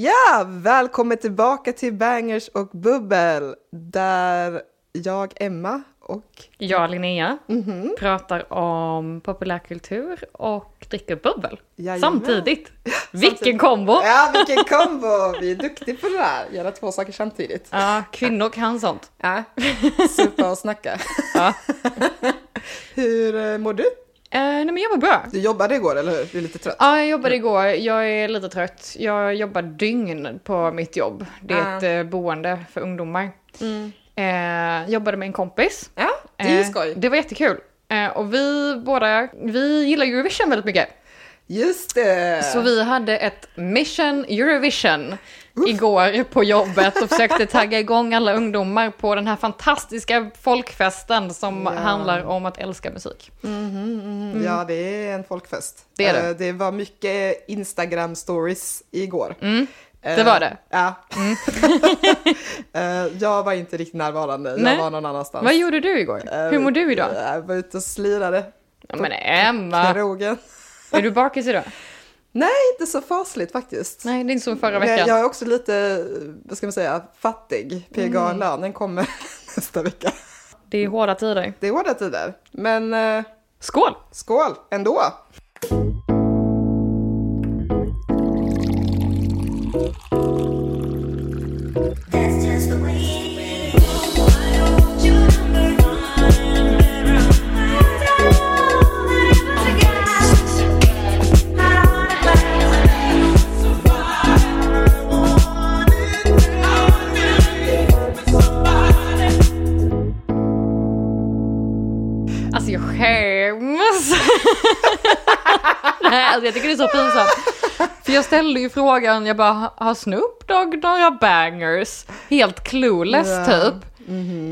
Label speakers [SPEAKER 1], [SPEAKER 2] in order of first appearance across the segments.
[SPEAKER 1] Ja, välkommen tillbaka till Bangers och bubbel där jag, Emma och
[SPEAKER 2] Jag, Linnea,
[SPEAKER 1] Mhm.
[SPEAKER 2] pratar om populärkultur och dricker bubbel.
[SPEAKER 1] Jajamän.
[SPEAKER 2] Samtidigt! Vilken
[SPEAKER 1] samtidigt.
[SPEAKER 2] kombo!
[SPEAKER 1] Ja, vilken kombo! Vi är duktiga på det där, göra två saker samtidigt.
[SPEAKER 2] Ja, kvinnor kan sånt.
[SPEAKER 1] Ja, supa och snacka.
[SPEAKER 2] Ja.
[SPEAKER 1] Hur eh, mår du?
[SPEAKER 2] Eh, nej men jag mår bra.
[SPEAKER 1] Du jobbade igår, eller hur? Du är lite trött.
[SPEAKER 2] Ja, jag jobbade
[SPEAKER 1] Mm.
[SPEAKER 2] igår. Jag är lite trött. Jag jobbar dygn på mitt jobb. Det är
[SPEAKER 1] Ah.
[SPEAKER 2] ett eh, boende för ungdomar.
[SPEAKER 1] Mm.
[SPEAKER 2] Eh, jobbade med en kompis.
[SPEAKER 1] Ja, det är ju
[SPEAKER 2] Eh,
[SPEAKER 1] skoj.
[SPEAKER 2] Det var jättekul. Eh, och vi båda, vi gillar Eurovision väldigt mycket.
[SPEAKER 1] Just det!
[SPEAKER 2] Så vi hade ett mission Eurovision igår på jobbet och försökte tagga igång alla ungdomar på den här fantastiska folkfesten som
[SPEAKER 1] Ja.
[SPEAKER 2] handlar om att älska musik.
[SPEAKER 1] Mm. Ja, det är en folkfest.
[SPEAKER 2] Det är det.
[SPEAKER 1] Eh, Det var mycket Instagram-stories igår.
[SPEAKER 2] Mm. Det var det. Mm.
[SPEAKER 1] Ja. Eh, jag var inte riktigt närvarande,
[SPEAKER 2] Nej.
[SPEAKER 1] jag var någon annanstans.
[SPEAKER 2] Vad gjorde du igår?
[SPEAKER 1] Eh,
[SPEAKER 2] Hur mår du idag?
[SPEAKER 1] Jag var ute och slirade
[SPEAKER 2] Ja, men Emma,
[SPEAKER 1] krogen.
[SPEAKER 2] är du bakis idag?
[SPEAKER 1] Nej, inte så fasligt faktiskt. Eh,
[SPEAKER 2] Nej, det är inte som förra
[SPEAKER 1] jag,
[SPEAKER 2] veckan.
[SPEAKER 1] jag är också lite, vad ska man säga, fattig.
[SPEAKER 2] Mm.
[SPEAKER 1] PGA-lönen kommer nästa vecka.
[SPEAKER 2] Det är hårda tider.
[SPEAKER 1] Det är hårda tider, men eh,
[SPEAKER 2] Skål!
[SPEAKER 1] skål ändå.
[SPEAKER 3] That's just the way it is. Why don't you ever run
[SPEAKER 2] Alltså jag skäms. Nej, alltså jag tycker det är så pinsamt. För jag ställde ju frågan, jag bara, har Snoop Dogg några bangers? Helt clueless
[SPEAKER 1] Ja.
[SPEAKER 2] typ.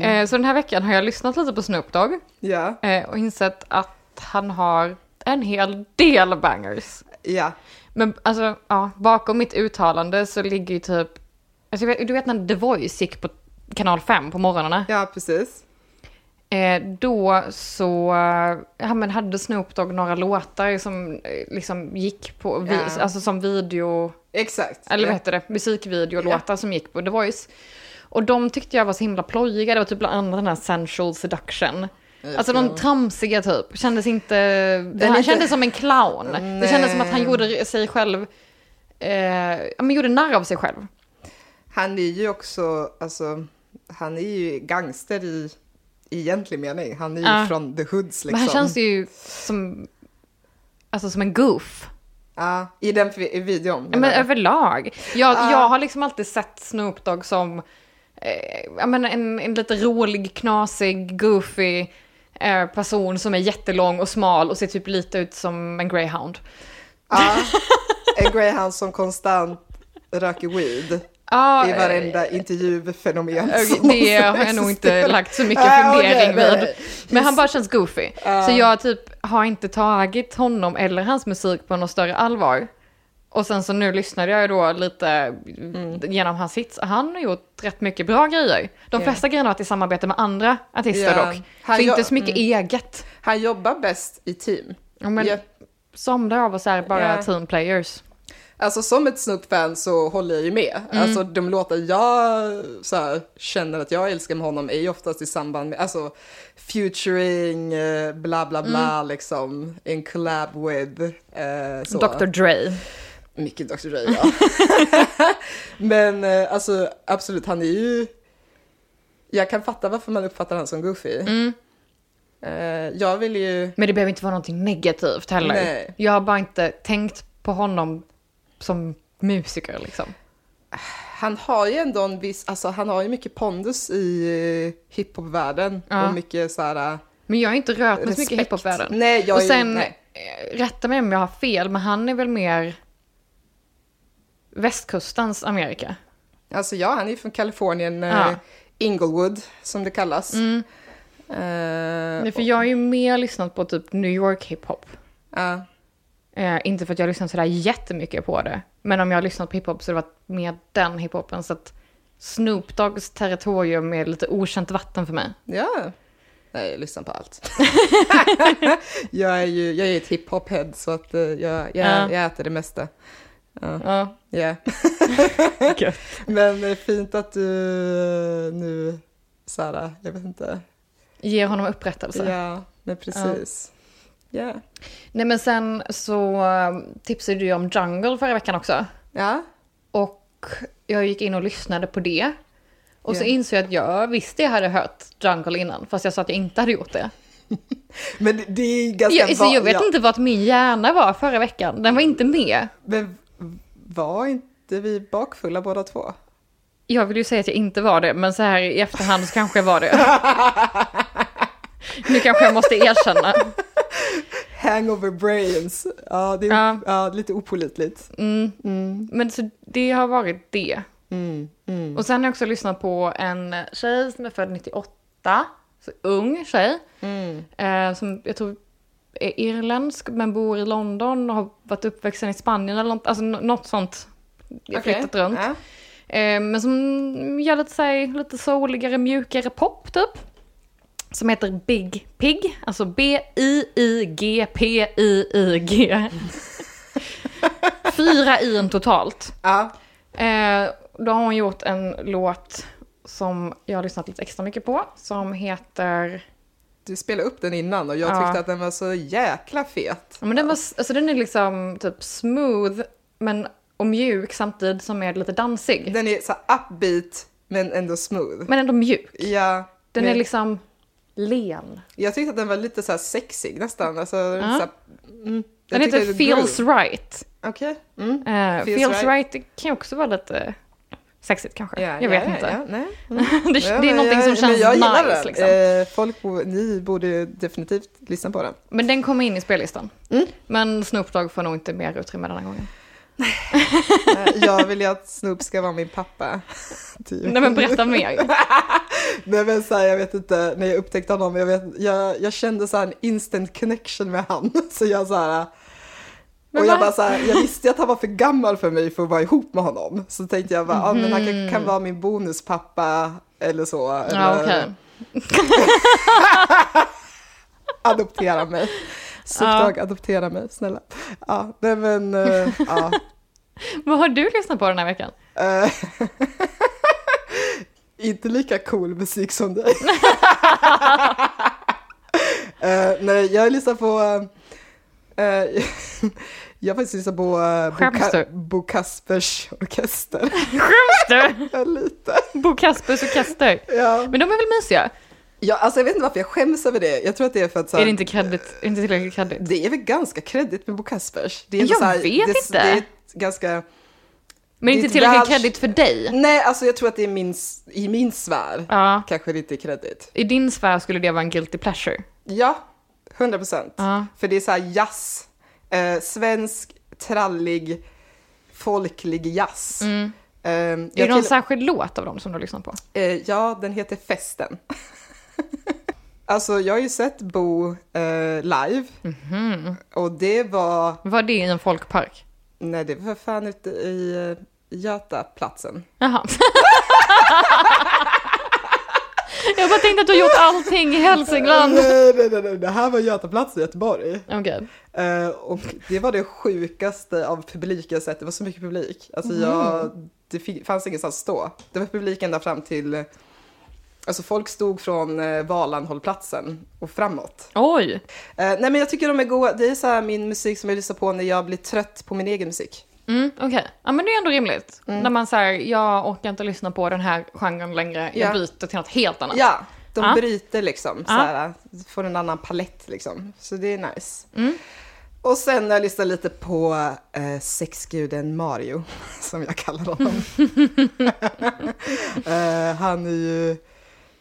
[SPEAKER 2] Eh, Så den här veckan har jag lyssnat lite på Snoop Dogg
[SPEAKER 1] Ja,
[SPEAKER 2] eh, och insett att han har en hel del bangers.
[SPEAKER 1] ja.
[SPEAKER 2] Men alltså, ja, bakom mitt uttalande så ligger ju typ, alltså, jag vet- du vet när The Voice gick på kanal 5 på morgonerna?
[SPEAKER 1] Ja, precis.
[SPEAKER 2] Eh, då så eh, ja, men hade Snoop Dogg några låtar som eh, liksom gick på, vi,
[SPEAKER 1] Ja.
[SPEAKER 2] alltså som video,
[SPEAKER 1] Exakt.
[SPEAKER 2] eller vad heter det, musikvideolåtar som gick på The Voice. Och de tyckte jag var så himla plojiga, det var typ bland annat den här Sensual Seduction. Alltså de tramsiga typ, kändes inte, han
[SPEAKER 1] Mm. inte- Mm,
[SPEAKER 2] kändes som en clown. Det kändes som att han
[SPEAKER 1] Nej.
[SPEAKER 2] gjorde sig själv, eh, ja men gjorde narr av sig själv.
[SPEAKER 1] Han är ju också, alltså, han är ju gangster i, i egentlig mening. Han är ju
[SPEAKER 2] Ja.
[SPEAKER 1] från the hoods liksom.
[SPEAKER 2] Men han känns ju som, alltså som en goof.
[SPEAKER 1] Ja, I den vi- i videon.
[SPEAKER 2] Ja, Men
[SPEAKER 1] menar jag.
[SPEAKER 2] överlag. Jag,
[SPEAKER 1] Ja.
[SPEAKER 2] jag har liksom alltid sett Snoop Dogg som eh, jag menar, en, en lite rolig, knasig, goofy eh, person som är jättelång och smal och ser typ lite ut som en greyhound.
[SPEAKER 1] Ja, en greyhound som konstant röker weed
[SPEAKER 2] Ah,
[SPEAKER 1] i varenda intervjufenomen. som
[SPEAKER 2] eh, det har jag nog inte
[SPEAKER 1] existerar.
[SPEAKER 2] lagt så mycket
[SPEAKER 1] Ah, okej,
[SPEAKER 2] fundering
[SPEAKER 1] nej,
[SPEAKER 2] vid.
[SPEAKER 1] nej.
[SPEAKER 2] Men han bara känns goofy.
[SPEAKER 1] Ja.
[SPEAKER 2] Så jag typ har inte tagit honom eller hans musik på något större allvar. Och sen så nu lyssnade jag ju då lite genom hans hits. Han har gjort rätt mycket bra grejer. De
[SPEAKER 1] Mm. Ja.
[SPEAKER 2] flesta grejerna har varit i samarbete med andra artister
[SPEAKER 1] Ja.
[SPEAKER 2] dock.
[SPEAKER 1] Han
[SPEAKER 2] så
[SPEAKER 1] gör- mm.
[SPEAKER 2] inte så mycket eget.
[SPEAKER 1] Han jobbar bäst i team.
[SPEAKER 2] Ja, men
[SPEAKER 1] Ja.
[SPEAKER 2] Som där av oss är bara
[SPEAKER 1] Ja.
[SPEAKER 2] team players.
[SPEAKER 1] Alltså som ett Snoop-fan så håller jag ju med. Alltså de låtar jag så här, känner att jag älskar med honom är ju oftast i samband med, alltså featuring, eh, bla bla bla liksom, en collab with. Eh, så.
[SPEAKER 2] Dr Dre.
[SPEAKER 1] Mycket Dr. Dre, ja. Men eh, alltså absolut, han är ju... Jag kan fatta varför man uppfattar honom som goofy. Eh, jag vill ju...
[SPEAKER 2] Men det behöver inte vara någonting negativt heller.
[SPEAKER 1] Nej.
[SPEAKER 2] Jag har bara inte tänkt på honom som musiker liksom.
[SPEAKER 1] Han har ju ändå en viss, alltså han har ju mycket pondus i eh, hiphopvärlden
[SPEAKER 2] Ja.
[SPEAKER 1] och mycket så här... eh,
[SPEAKER 2] Men jag har inte rört mig så
[SPEAKER 1] Respekt.
[SPEAKER 2] mycket i hiphopvärlden.
[SPEAKER 1] Nej, jag
[SPEAKER 2] och
[SPEAKER 1] är-
[SPEAKER 2] sen,
[SPEAKER 1] nej.
[SPEAKER 2] eh, rätta mig om jag har fel, men han är väl mer västkustens Amerika?
[SPEAKER 1] Alltså ja, han är ju från Kalifornien, eh,
[SPEAKER 2] Ja. Mm.
[SPEAKER 1] Inglewood som det kallas. Eh,
[SPEAKER 2] Nej, för jag har ju mer lyssnat på typ New York hiphop.
[SPEAKER 1] ja.
[SPEAKER 2] Eh, inte för att jag har lyssnat sådär jättemycket på det, men om jag har lyssnat på hiphop så har det varit mer den hiphopen. Så att Snoop Doggs territorium är lite okänt vatten för mig.
[SPEAKER 1] Ja. Nej, jag lyssnar på allt. jag är ju jag är ju ett hiphop-head så att eh, jag, jag,
[SPEAKER 2] Ja.
[SPEAKER 1] jag äter det mesta. Ja.
[SPEAKER 2] Ja.
[SPEAKER 1] Yeah.
[SPEAKER 2] Gött.
[SPEAKER 1] Men det är fint att du eh, nu, Sara, jag vet inte.
[SPEAKER 2] Ger honom upprättelse.
[SPEAKER 1] Ja, men precis. Ja.
[SPEAKER 2] Nej men sen så eh, tipsade du ju om Jungle förra veckan också.
[SPEAKER 1] Ja,
[SPEAKER 2] Och jag gick in och lyssnade på det. Och så
[SPEAKER 1] Ja.
[SPEAKER 2] insåg jag att jag visst jag hade hört Jungle innan, fast jag sa att jag inte hade gjort det.
[SPEAKER 1] men det- det är ganska...
[SPEAKER 2] Jag, så alltså, jag vet
[SPEAKER 1] ja.
[SPEAKER 2] inte vart min hjärna var förra veckan, den var inte med.
[SPEAKER 1] Men var inte vi bakfulla båda två?
[SPEAKER 2] Jag vill ju säga att jag inte var det, men så här i efterhand så kanske jag var det. nu kanske jag måste erkänna.
[SPEAKER 1] Hangover brains. Ja, det är
[SPEAKER 2] Ja.
[SPEAKER 1] ja, lite opolitligt.
[SPEAKER 2] Mm. Men så det har varit det.
[SPEAKER 1] Mm,
[SPEAKER 2] Och sen har jag också lyssnat på en tjej som är född 98, så ung tjej.
[SPEAKER 1] Mm.
[SPEAKER 2] Eh, som jag tror är irländsk men bor i London och har varit uppvuxen i Spanien eller något, alltså nå- något sånt.
[SPEAKER 1] Okej.
[SPEAKER 2] Flyttat runt.
[SPEAKER 1] Ja.
[SPEAKER 2] Eh, men som gör lite, så här, lite souligare, mjukare pop typ. Som heter Big Pig, alltså B-I-I-G-P-I-I-G. Fyra i totalt.
[SPEAKER 1] Ja.
[SPEAKER 2] Eh, då har hon gjort en låt som jag har lyssnat lite extra mycket på, som heter...
[SPEAKER 1] Du spelade upp den innan och jag
[SPEAKER 2] Ja.
[SPEAKER 1] tyckte att den var så jäkla fet.
[SPEAKER 2] Ja, Men den, var, alltså den är liksom typ smooth men, och mjuk samtidigt som är lite dansig.
[SPEAKER 1] Den är så här upbeat men ändå smooth.
[SPEAKER 2] Men ändå mjuk.
[SPEAKER 1] Ja.
[SPEAKER 2] Den
[SPEAKER 1] men
[SPEAKER 2] är liksom len.
[SPEAKER 1] Jag tyckte att den var lite så här sexig nästan. Alltså, så här, mm,
[SPEAKER 2] Den
[SPEAKER 1] jag tyckte
[SPEAKER 2] heter
[SPEAKER 1] det drog.
[SPEAKER 2] Feels Right.
[SPEAKER 1] Okej. Mm.
[SPEAKER 2] Eh,
[SPEAKER 1] Feels
[SPEAKER 2] feels
[SPEAKER 1] Right.
[SPEAKER 2] right. kan ju också vara lite sexigt kanske.
[SPEAKER 1] Ja,
[SPEAKER 2] jag vet
[SPEAKER 1] ja,
[SPEAKER 2] inte.
[SPEAKER 1] Ja, nej.
[SPEAKER 2] det,
[SPEAKER 1] Ja,
[SPEAKER 2] det är
[SPEAKER 1] men
[SPEAKER 2] någonting
[SPEAKER 1] jag-
[SPEAKER 2] som
[SPEAKER 1] men
[SPEAKER 2] känns
[SPEAKER 1] jag gillar
[SPEAKER 2] nice
[SPEAKER 1] den.
[SPEAKER 2] liksom.
[SPEAKER 1] Eh, folk, bo- ni borde definitivt lyssna på den.
[SPEAKER 2] Men den kommer in i spellistan.
[SPEAKER 1] Mm.
[SPEAKER 2] Men Snoop Dogg får nog inte mer utrymme den här gången.
[SPEAKER 1] Eh, jag vill ju att Snoop ska vara min pappa. Typ.
[SPEAKER 2] Nej men berätta mer.
[SPEAKER 1] Nej men så här, jag vet inte, när jag upptäckte honom, jag, vet, jag, jag kände så här en instant connection med han. Så jag så här,
[SPEAKER 2] Men
[SPEAKER 1] och
[SPEAKER 2] vad-
[SPEAKER 1] jag bara så här, jag visste ju att han var för gammal för mig för att vara ihop med honom. Så tänkte jag bara, ja men han kan, kan vara min bonuspappa eller så.
[SPEAKER 2] Mm. Ja,
[SPEAKER 1] eller
[SPEAKER 2] okej.
[SPEAKER 1] Adoptera mig.
[SPEAKER 2] Ja.
[SPEAKER 1] Snoop Dogg, adoptera mig, snälla. Ja, nej men, eh, ja.
[SPEAKER 2] Vad har du lyssnat på den här veckan?
[SPEAKER 1] Eh, inte lika cool musik som dig. Eh, nej, jag lyssnar på... eh, jag har faktiskt lyssnat på eh, Bo,
[SPEAKER 2] Skäms
[SPEAKER 1] Ka-
[SPEAKER 2] du?
[SPEAKER 1] Bo Kaspers orkester.
[SPEAKER 2] Du,
[SPEAKER 1] Ja, Lite.
[SPEAKER 2] Bo Kaspers och Kester.
[SPEAKER 1] Ja.
[SPEAKER 2] Men de är väl mysiga?
[SPEAKER 1] Ja, alltså, jag vet inte varför jag skäms över det. Jag tror att det är för att... Så här,
[SPEAKER 2] Är det inte, kredit, är det inte tillräckligt kredit?
[SPEAKER 1] det är väl ganska kreddigt med Bo Kaspers. Det är
[SPEAKER 2] Jag
[SPEAKER 1] inte så här,
[SPEAKER 2] vet
[SPEAKER 1] det,
[SPEAKER 2] inte.
[SPEAKER 1] Det är ett ganska...
[SPEAKER 2] Men inte
[SPEAKER 1] Ditt
[SPEAKER 2] tillräckligt
[SPEAKER 1] världs-
[SPEAKER 2] kredit för dig?
[SPEAKER 1] Nej, alltså jag tror att det är min, s- i min sfär
[SPEAKER 2] Ja.
[SPEAKER 1] kanske det inte är kreddigt.
[SPEAKER 2] I din sfär skulle det vara en guilty pleasure.
[SPEAKER 1] Ja, 100 procent.
[SPEAKER 2] Ja.
[SPEAKER 1] För det är så här jazz, eh, svensk, trallig, folklig jazz. Eh,
[SPEAKER 2] Mm. Är det
[SPEAKER 1] jag
[SPEAKER 2] någon
[SPEAKER 1] till-
[SPEAKER 2] särskild låt av dem som du lyssnar på?
[SPEAKER 1] eh, ja, den heter Festen. alltså, jag har ju sett Bo eh, live
[SPEAKER 2] Mhm.
[SPEAKER 1] och det var,
[SPEAKER 2] Var det i en folkpark?
[SPEAKER 1] nej det var för fan ute i eh, Götaplatsen.
[SPEAKER 2] Jaha. Jag bara tänkte att du har gjort allting i Hälsingland.
[SPEAKER 1] Nej, nej, nej, nej, det här var Götaplatsen i Göteborg.
[SPEAKER 2] Okej.
[SPEAKER 1] Eh, och det var det sjukaste av publik jag sett. Det var så mycket publik. Alltså jag, det fi- fanns ingenstans att stå. Det var publik ända fram till... Alltså folk stod från eh, Valanhållplatsen och framåt.
[SPEAKER 2] Oj.
[SPEAKER 1] Eh, nej men jag tycker de är goa. Det är så här min musik som jag lyssnar på när jag blir trött på min egen musik.
[SPEAKER 2] Mm, Okej. Ja men det är ändå rimligt.
[SPEAKER 1] Mm.
[SPEAKER 2] När man säger jag orkar inte lyssna på den här genren längre. Jag
[SPEAKER 1] Ja.
[SPEAKER 2] byter till något helt annat.
[SPEAKER 1] Ja, de
[SPEAKER 2] Ja.
[SPEAKER 1] bryter liksom. Så
[SPEAKER 2] Ja.
[SPEAKER 1] här, får en annan palett liksom. Så det är nice.
[SPEAKER 2] Mm.
[SPEAKER 1] Och sen har jag lyssnat lite på eh, sexguden Mario, som jag kallar honom. eh, han är ju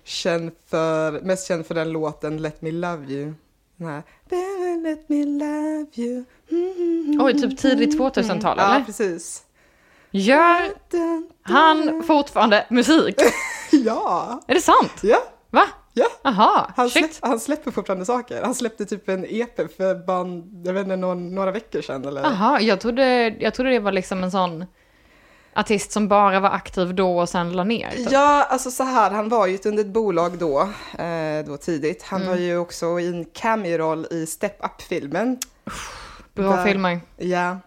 [SPEAKER 1] känd för, mest känd för den låten Let Me Love You. Den här, Baby, let me love you. Mm.
[SPEAKER 2] Oj, typ tidigt 2000-tal
[SPEAKER 1] Ja,
[SPEAKER 2] eller?
[SPEAKER 1] precis.
[SPEAKER 2] Gör
[SPEAKER 1] Mm.
[SPEAKER 2] han fortfarande musik?
[SPEAKER 1] Ja,
[SPEAKER 2] Är det sant?
[SPEAKER 1] ja,
[SPEAKER 2] Va?
[SPEAKER 1] ja.
[SPEAKER 2] Jaha,
[SPEAKER 1] Han,
[SPEAKER 2] shit.
[SPEAKER 1] släpp, han släpper fortfarande saker. Han släppte typ en EP för band, jag vet inte, någon, några veckor sedan eller?
[SPEAKER 2] Jaha, jag trodde, jag trodde det var liksom en sån artist som bara var aktiv då och sen la ner. typ.
[SPEAKER 1] Ja, alltså så här, han var ju under ett bolag då, eh, då tidigt. Han var ju också i en cameo-roll i Step Up-filmen.
[SPEAKER 2] Bra
[SPEAKER 1] där.
[SPEAKER 2] filmer.
[SPEAKER 1] Ja. Eh,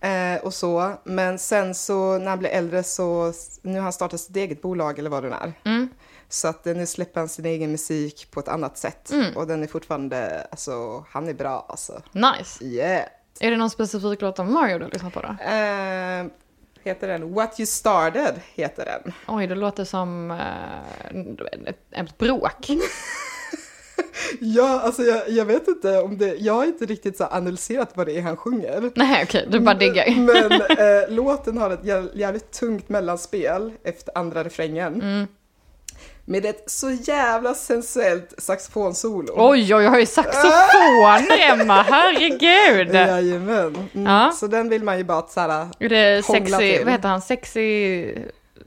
[SPEAKER 1] Eh, och så. Men sen så när han blev äldre så, nu har han startat sitt eget bolag eller vad det nu är. Så att eh, nu släpper han sin egen musik på ett annat sätt. Och den är fortfarande, alltså han är bra alltså.
[SPEAKER 2] Nice.
[SPEAKER 1] Yeah.
[SPEAKER 2] Är det någon specifik låt av Mario du har lyssnat på då?
[SPEAKER 1] Eh, heter den What You Started? Heter den.
[SPEAKER 2] Oj, det låter som eh, ett, ett bråk.
[SPEAKER 1] Mm. Ja, alltså jag, jag vet inte om det, jag har inte riktigt så här analyserat vad det är han sjunger.
[SPEAKER 2] Nej, okej, du
[SPEAKER 1] Mm.
[SPEAKER 2] bara diggar.
[SPEAKER 1] Men eh, låten har ett jä- jävligt tungt mellanspel efter andra refrängen.
[SPEAKER 2] Mm.
[SPEAKER 1] Med ett så jävla sensuellt saxofonsolo.
[SPEAKER 2] Oj, oj, jag har ju saxofon, Emma, herregud!
[SPEAKER 1] Jajamän. Mm.
[SPEAKER 2] Ja.
[SPEAKER 1] Så den vill man ju bara att såhär,
[SPEAKER 2] Är det
[SPEAKER 1] Hångla
[SPEAKER 2] sexy,
[SPEAKER 1] till.
[SPEAKER 2] vad heter han, sexy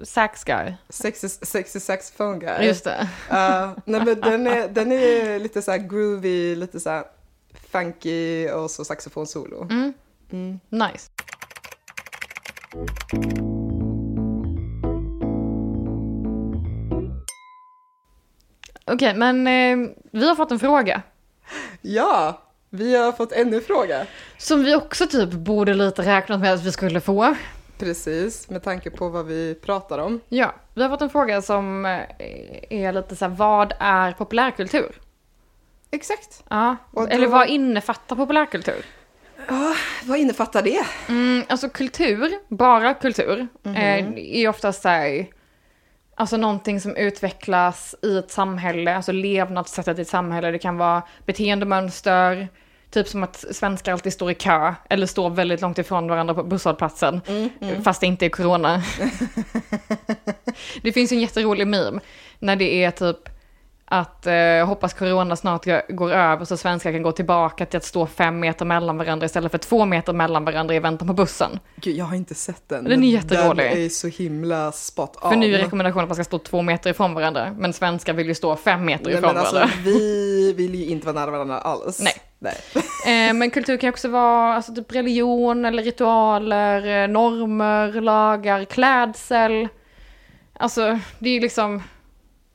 [SPEAKER 2] sax guy?
[SPEAKER 1] sexy, sexy saxophone guy.
[SPEAKER 2] Just det.
[SPEAKER 1] Ja, nej men den är, den är lite såhär groovy, lite såhär funky och så saxofonsolo.
[SPEAKER 2] Nice. Okej, men eh, vi har fått en fråga.
[SPEAKER 1] Ja, vi har fått ännu en fråga.
[SPEAKER 2] Som vi också typ borde lite räknat med att vi skulle få.
[SPEAKER 1] Precis, med tanke på vad vi pratar om.
[SPEAKER 2] Ja, vi har fått en fråga som eh, är lite så här, vad är populärkultur?
[SPEAKER 1] Exakt.
[SPEAKER 2] Ja,
[SPEAKER 1] Och då-
[SPEAKER 2] eller vad innefattar populärkultur?
[SPEAKER 1] Vad innefattar det?
[SPEAKER 2] Mm, alltså kultur, bara kultur, eh, är oftast så här, alltså någonting som utvecklas i ett samhälle, alltså levnadssättet i ett samhälle. Det kan vara beteendemönster, typ som att svenskar alltid står i kö eller står väldigt långt ifrån varandra på busshållplatsen, fast det inte är corona. det finns ju en jätterolig meme när det är typ att eh, hoppas corona snart gö- går över så svenskar kan gå tillbaka till att stå fem meter mellan varandra istället för två meter mellan varandra i väntan på bussen.
[SPEAKER 1] Gud, jag har inte sett den.
[SPEAKER 2] Den är
[SPEAKER 1] men
[SPEAKER 2] jätterolig.
[SPEAKER 1] Den är så himla spot on.
[SPEAKER 2] För nu är rekommendationen att man ska stå två meter ifrån varandra, men svenskar vill ju stå fem meter
[SPEAKER 1] Nej,
[SPEAKER 2] ifrån
[SPEAKER 1] men alltså,
[SPEAKER 2] varandra.
[SPEAKER 1] vi vill ju inte vara nära varandra alls.
[SPEAKER 2] Nej.
[SPEAKER 1] Nej.
[SPEAKER 2] Eh, men kultur kan ju också vara alltså, typ religion eller ritualer, eh, normer, lagar, klädsel. Alltså, det är ju liksom...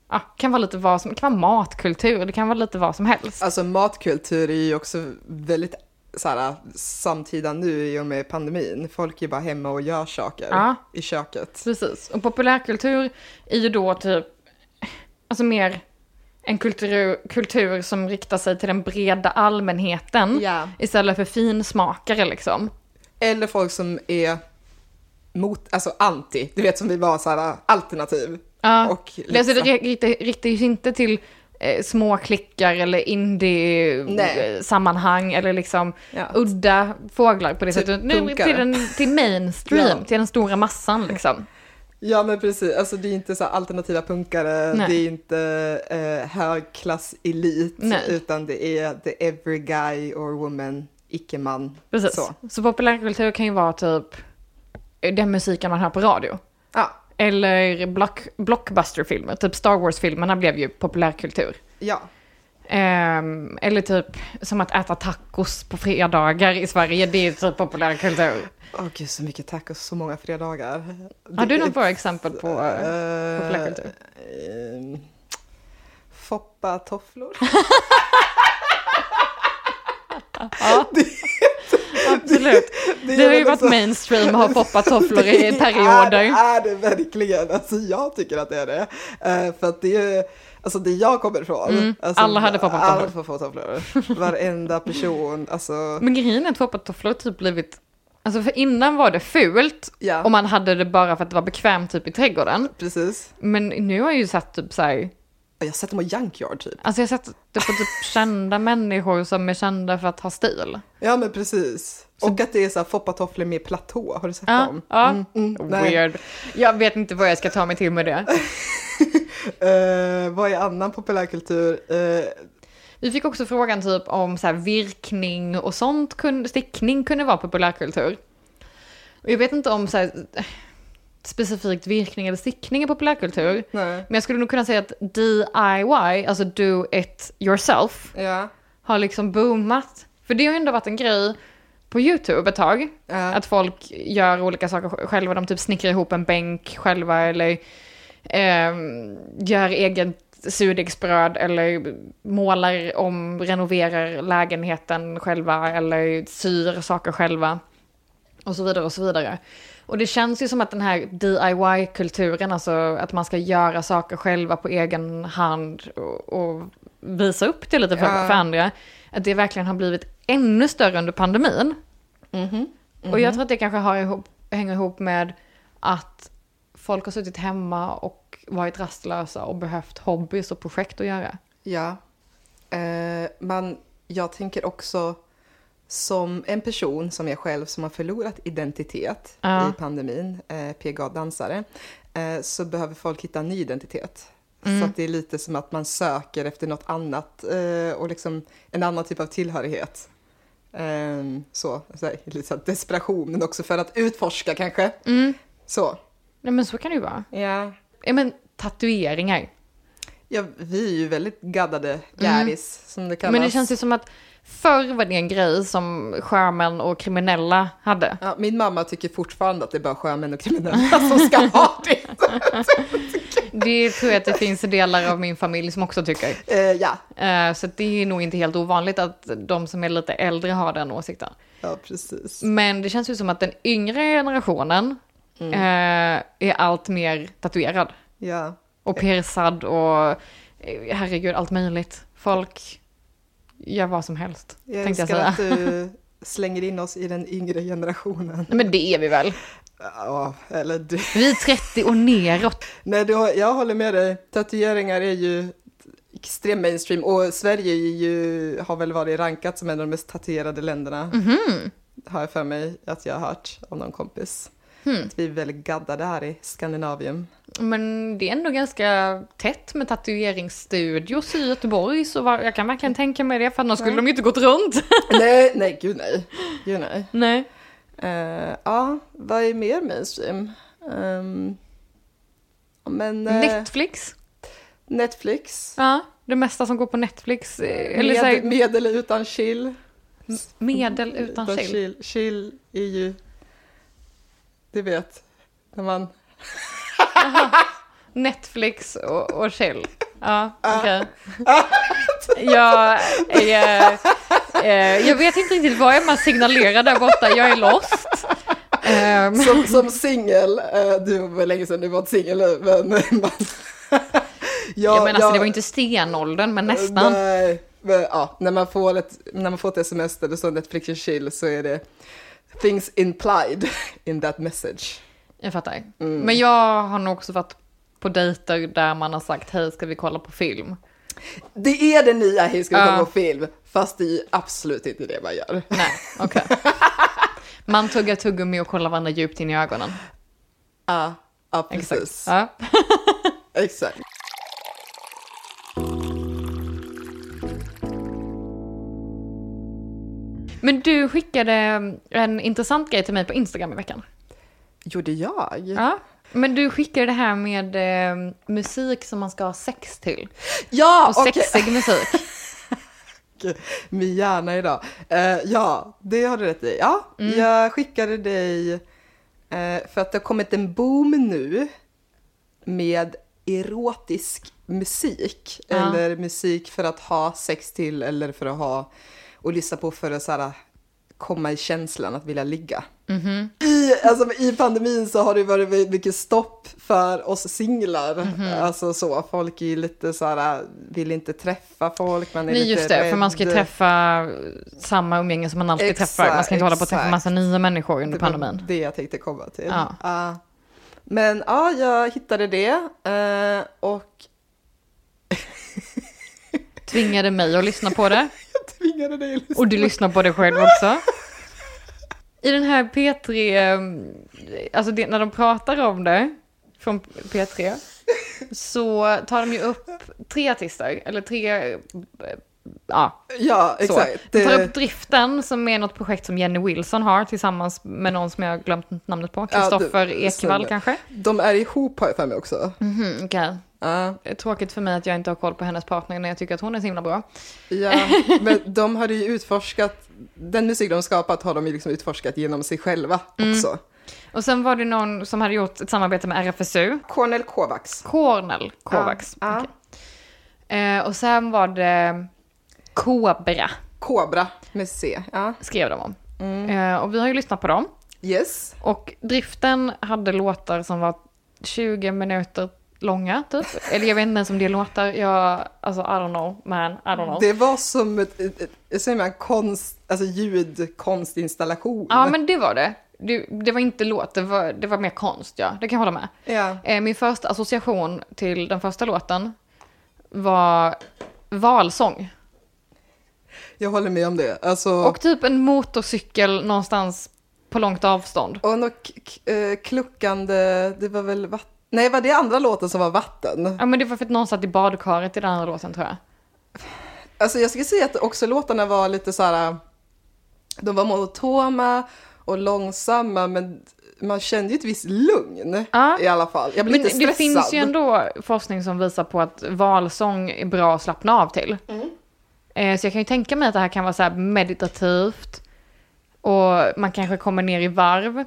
[SPEAKER 2] Ja, kan vara lite vad som... Det kan vara matkultur, det kan vara lite vad som helst.
[SPEAKER 1] Alltså matkultur är ju också väldigt så här, samtida nu i och med pandemin. Folk är bara hemma och gör saker
[SPEAKER 2] Ja.
[SPEAKER 1] i köket.
[SPEAKER 2] Precis. Och populärkultur är ju då typ, alltså mer en kultur, kultur som riktar sig till den breda allmänheten
[SPEAKER 1] Ja.
[SPEAKER 2] istället för finsmakare liksom.
[SPEAKER 1] Eller folk som är mot, alltså anti, du vet som vi var så här alternativ.
[SPEAKER 2] Ja.
[SPEAKER 1] Och
[SPEAKER 2] Alltså, det
[SPEAKER 1] liksom-
[SPEAKER 2] ri- riktar, riktar ju sig inte till eh, små klickar eller
[SPEAKER 1] Nej.
[SPEAKER 2] indie-sammanhang eller liksom
[SPEAKER 1] Ja.
[SPEAKER 2] udda fåglar på det
[SPEAKER 1] Typ
[SPEAKER 2] sättet. Nu,
[SPEAKER 1] punkare.
[SPEAKER 2] till, den, till mainstream,
[SPEAKER 1] Ja.
[SPEAKER 2] till den stora massan liksom.
[SPEAKER 1] Ja men precis, alltså det är inte så här alternativa punkare,
[SPEAKER 2] Nej.
[SPEAKER 1] det är inte eh, högklasselit,
[SPEAKER 2] Nej.
[SPEAKER 1] utan det är the every guy or woman, icke-man.
[SPEAKER 2] Precis.
[SPEAKER 1] Så.
[SPEAKER 2] Så, populärkultur kan ju vara typ eh, den musiken man hör på radio.
[SPEAKER 1] Ja,
[SPEAKER 2] Eller block, blockbusterfilmer, typ Star Wars-filmerna blev ju populärkultur.
[SPEAKER 1] ja.
[SPEAKER 2] Ehm, eller typ som att äta tacos på fredagar i Sverige, det är typ populärkultur.
[SPEAKER 1] Åh gud så mycket tacos, så många fredagar.
[SPEAKER 2] Har du
[SPEAKER 1] Det-
[SPEAKER 2] några bra exempel på eh,
[SPEAKER 1] Eh,
[SPEAKER 2] populärkultur?
[SPEAKER 1] ehm, Foppatofflor.
[SPEAKER 2] Ja. Absolut.
[SPEAKER 1] är
[SPEAKER 2] Det har ju
[SPEAKER 1] väl
[SPEAKER 2] varit
[SPEAKER 1] liksom-
[SPEAKER 2] mainstream att ha poppartofflor
[SPEAKER 1] Det
[SPEAKER 2] i perioder.
[SPEAKER 1] Är, är det verkligen? Alltså jag tycker att det är det. Eh, för att det är, alltså det jag kommer ifrån.
[SPEAKER 2] Mm,
[SPEAKER 1] Alltså,
[SPEAKER 2] alla hade poppartofflor.
[SPEAKER 1] Alla hade poppartofflor. Varenda person, alltså.
[SPEAKER 2] Men grejen är att poppartofflor har typ blivit... Alltså för innan var det fult
[SPEAKER 1] Ja.
[SPEAKER 2] och man hade det bara för att det var bekvämt typ i trädgården.
[SPEAKER 1] Precis.
[SPEAKER 2] Men nu har jag ju sett typ så här
[SPEAKER 1] Jag har sett dem i Junkyard typ.
[SPEAKER 2] Alltså jag har sett det på typ kända människor som är kända för att ha stil.
[SPEAKER 1] Ja men precis. Och att det är så här foppatofflor med platå. Har du sett
[SPEAKER 2] Ja,
[SPEAKER 1] dem? Mm,
[SPEAKER 2] ja.
[SPEAKER 1] nej.
[SPEAKER 2] Weird. Jag vet inte vad jag ska ta mig till med det.
[SPEAKER 1] Eh, vad är annan populärkultur? Eh,
[SPEAKER 2] Vi fick också frågan typ om så här virkning och sånt, kun, stickning kunde vara populärkultur. Och jag vet inte om så här, specifikt virkning eller stickning är populärkultur.
[SPEAKER 1] nej.
[SPEAKER 2] Men jag skulle nog kunna säga att DIY, alltså do it yourself,
[SPEAKER 1] Ja.
[SPEAKER 2] har liksom boomat. För det har ju ändå varit en grej på YouTube ett tag.
[SPEAKER 1] Ja.
[SPEAKER 2] Att folk gör olika saker sj- själva. De typ snickrar ihop en bänk själva eller ehm, gör eget surdegsbröd eller målar om, renoverar lägenheten själva eller syr saker själva. Och så vidare och så vidare. Och det känns ju som att den här DIY-kulturen, alltså att man ska göra saker själva på egen hand och, och visa upp det lite för,
[SPEAKER 1] Ja.
[SPEAKER 2] för andra, att det verkligen har blivit ännu större under pandemin. Och
[SPEAKER 1] Mhm.
[SPEAKER 2] jag tror att det kanske har ihop, hänger ihop med att folk har suttit hemma och varit rastlösa och behövt hobbys och projekt att göra.
[SPEAKER 1] Ja. Eh, men jag tänker också som en person som jag själv som har förlorat identitet
[SPEAKER 2] Ja.
[SPEAKER 1] i pandemin, eh, PGA-dansare, eh, så behöver folk hitta en ny identitet.
[SPEAKER 2] Mm.
[SPEAKER 1] Så att det är lite som att man söker efter något annat eh, och liksom en annan typ av tillhörighet. Eh, så, så här, lite så här desperation, men också för att utforska kanske. Så.
[SPEAKER 2] Mm. Nej men så kan det ju vara.
[SPEAKER 1] Ja.
[SPEAKER 2] Ja men tatueringar.
[SPEAKER 1] ja, vi är ju väldigt gaddade gäris, som det kallas.
[SPEAKER 2] Mm. Men det känns ju som att förr var det en grej som sjömän och kriminella hade.
[SPEAKER 1] Ja, min mamma tycker fortfarande att det är bara sjömän och kriminella som ska ha det.
[SPEAKER 2] Det tror jag att det finns delar av min familj som också tycker.
[SPEAKER 1] Eh, ja.
[SPEAKER 2] Eh, Så att det är nog inte helt ovanligt att de som är lite äldre har den åsikten.
[SPEAKER 1] ja, precis.
[SPEAKER 2] Men det känns ju som att den yngre generationen
[SPEAKER 1] Mm.
[SPEAKER 2] eh, är allt mer tatuerad.
[SPEAKER 1] Ja.
[SPEAKER 2] Och piercad och eh, herregud, allt möjligt. Folk gör vad som helst,
[SPEAKER 1] Jag
[SPEAKER 2] tänkte jag
[SPEAKER 1] älskar
[SPEAKER 2] säga.
[SPEAKER 1] att du slänger in oss i den yngre generationen.
[SPEAKER 2] Nej, men det är vi väl.
[SPEAKER 1] Ja, eller du.
[SPEAKER 2] Vi är 30 och neråt.
[SPEAKER 1] Nej, du, har- jag håller med dig. Tatueringar är ju extrem mainstream och Sverige är ju, har väl varit rankat som en av de mest tatuerade länderna. Mhm. Har jag för mig att jag har hört av någon kompis. Att vi är väldigt gaddade här i Skandinavien.
[SPEAKER 2] Men det är ändå ganska tätt med tatueringsstudios i Göteborg så var, jag kan verkligen tänka mig det för annars skulle de ju inte gått runt.
[SPEAKER 1] nej, nej, gud nej. Gud nej.
[SPEAKER 2] Nej.
[SPEAKER 1] Eh, ja, vad är mer mainstream? Ehm, men eh,
[SPEAKER 2] Netflix.
[SPEAKER 1] Netflix.
[SPEAKER 2] Ja, det mesta som går på Netflix. eh, Eller
[SPEAKER 1] med,
[SPEAKER 2] så här,
[SPEAKER 1] med eller utan chill.
[SPEAKER 2] medel utan chill.
[SPEAKER 1] chill. Chill är ju, du vet, när man...
[SPEAKER 2] Netflix och, och chill. Ja,
[SPEAKER 1] Ah.
[SPEAKER 2] okej. Jag, är, eh, jag vet inte riktigt vad jag man signalerar där borta. Jag är lost. Ehm,
[SPEAKER 1] Som, som singel, eh, det var väl länge sedan du var singel men... man,
[SPEAKER 2] jag menar, alltså, det var ju inte stenåldern, men nästan.
[SPEAKER 1] Nej, men, ja, när, man får ett, när man får ett sms där det står Netflix och chill så är det things implied in that message.
[SPEAKER 2] Jag fattar.
[SPEAKER 1] Mm.
[SPEAKER 2] Men jag har nog också varit på dejter där man har sagt hej ska vi kolla på film.
[SPEAKER 1] Det är det nya Hej ska vi
[SPEAKER 2] Ja.
[SPEAKER 1] kolla på film, fast det är ju absolut inte det man gör.
[SPEAKER 2] Nej, okej. Man tuggar tuggummi och kollar varandra djupt in i ögonen.
[SPEAKER 1] Ja, ja
[SPEAKER 2] Exakt.
[SPEAKER 1] precis.
[SPEAKER 2] Ja.
[SPEAKER 1] Exakt.
[SPEAKER 2] Men du skickade en intressant grej till mig på Instagram i veckan.
[SPEAKER 1] Gjorde jag? Ja,
[SPEAKER 2] Ja. Men du skickade det här med eh, musik som man ska ha sex till. Och
[SPEAKER 1] okej.
[SPEAKER 2] sexig musik.
[SPEAKER 1] Min hjärna idag. Eh, ja, det har du rätt i. Ja,
[SPEAKER 2] Mm.
[SPEAKER 1] jag skickade dig eh, för att det har kommit en boom nu med erotisk musik
[SPEAKER 2] Ja.
[SPEAKER 1] eller musik för att ha sex till eller för att ha och lyssna på för att så här, komma i känslan att vilja ligga. I, alltså, I pandemin så har det varit väldigt mycket stopp för oss singlar.
[SPEAKER 2] Mhm.
[SPEAKER 1] Alltså så, folk är ju lite så här, vill inte träffa folk. Man är
[SPEAKER 2] Nej
[SPEAKER 1] lite
[SPEAKER 2] just det, för man ska ju
[SPEAKER 1] rädd.
[SPEAKER 2] träffa samma umgänge som man alltid
[SPEAKER 1] Exakt,
[SPEAKER 2] träffar. Man ska inte hålla på att träffa
[SPEAKER 1] exakt.
[SPEAKER 2] massa nya människor under
[SPEAKER 1] Det var
[SPEAKER 2] pandemin.
[SPEAKER 1] det jag tänkte komma till.
[SPEAKER 2] Ja.
[SPEAKER 1] Ja. men ja, jag hittade det eh, och
[SPEAKER 2] Tvingade mig att lyssna på det.
[SPEAKER 1] jag tvingade dig att lyssna.
[SPEAKER 2] Och du lyssnar på det själv också. I den här P3, eh, alltså det, när de pratar om det från P3 så tar de ju upp tre artister, eller tre, eh, ja,
[SPEAKER 1] Ja,
[SPEAKER 2] så.
[SPEAKER 1] exakt.
[SPEAKER 2] De tar
[SPEAKER 1] Det-
[SPEAKER 2] upp Driften som är något projekt som Jenny Wilson har tillsammans med någon som jag har glömt namnet på,
[SPEAKER 1] Ja, du-
[SPEAKER 2] Kristoffer Ekvall
[SPEAKER 1] snubbe.
[SPEAKER 2] kanske?
[SPEAKER 1] De är ihop har jag för mig också.
[SPEAKER 2] Mhm, okej.
[SPEAKER 1] Ja.
[SPEAKER 2] Tråkigt för mig att jag inte har koll på hennes partner när jag tycker att hon är så himla bra.
[SPEAKER 1] Ja, men de hade ju utforskat, den musik de skapat har de ju liksom utforskat genom sig själva
[SPEAKER 2] Mm.
[SPEAKER 1] också.
[SPEAKER 2] Och sen var det någon som hade gjort ett samarbete med RFSU,
[SPEAKER 1] Cornel Kovacs.
[SPEAKER 2] Cornel Kovacs.
[SPEAKER 1] Ja, ja.
[SPEAKER 2] Okej. Eh, och sen var det Kobra,
[SPEAKER 1] Kobra med C. Ja. Mm.
[SPEAKER 2] skrev de om. Eh, och vi har ju lyssnat på dem.
[SPEAKER 1] Yes.
[SPEAKER 2] Och driften hade låtar som var 20 minuter långa typ. Eller jag vet inte ens om det är låtar. Jag, alltså I don't know man, I don't know.
[SPEAKER 1] Det var som ett, ett, ett, jag säger man, konst, alltså ljudkonstinstallation.
[SPEAKER 2] Ja men det var det. Det, det var inte låt, det var, det var mer konst ja. Det kan jag hålla med.
[SPEAKER 1] Ja.
[SPEAKER 2] Eh, Min första association till den första låten var valsång.
[SPEAKER 1] Jag håller med om det. Alltså,
[SPEAKER 2] Och typ en motorcykel någonstans på långt avstånd.
[SPEAKER 1] Och något k- k- eh, kluckande, det var väl vatten? Nej, var det andra låten som var vatten?
[SPEAKER 2] Ja men det var för att någon satt i badkaret i den andra låten tror jag.
[SPEAKER 1] Alltså jag skulle säga att också låtarna var lite så här, de var monotona och långsamma, men man kände ju ett visst lugn
[SPEAKER 2] Ja.
[SPEAKER 1] i alla fall. Jag blev
[SPEAKER 2] Men
[SPEAKER 1] inte
[SPEAKER 2] det
[SPEAKER 1] stressad.
[SPEAKER 2] finns ju ändå forskning som visar på att valsång är bra att slappna av till.
[SPEAKER 1] Mm.
[SPEAKER 2] Eh, Så jag kan ju tänka mig att det här kan vara så här meditativt och man kanske kommer ner i varv.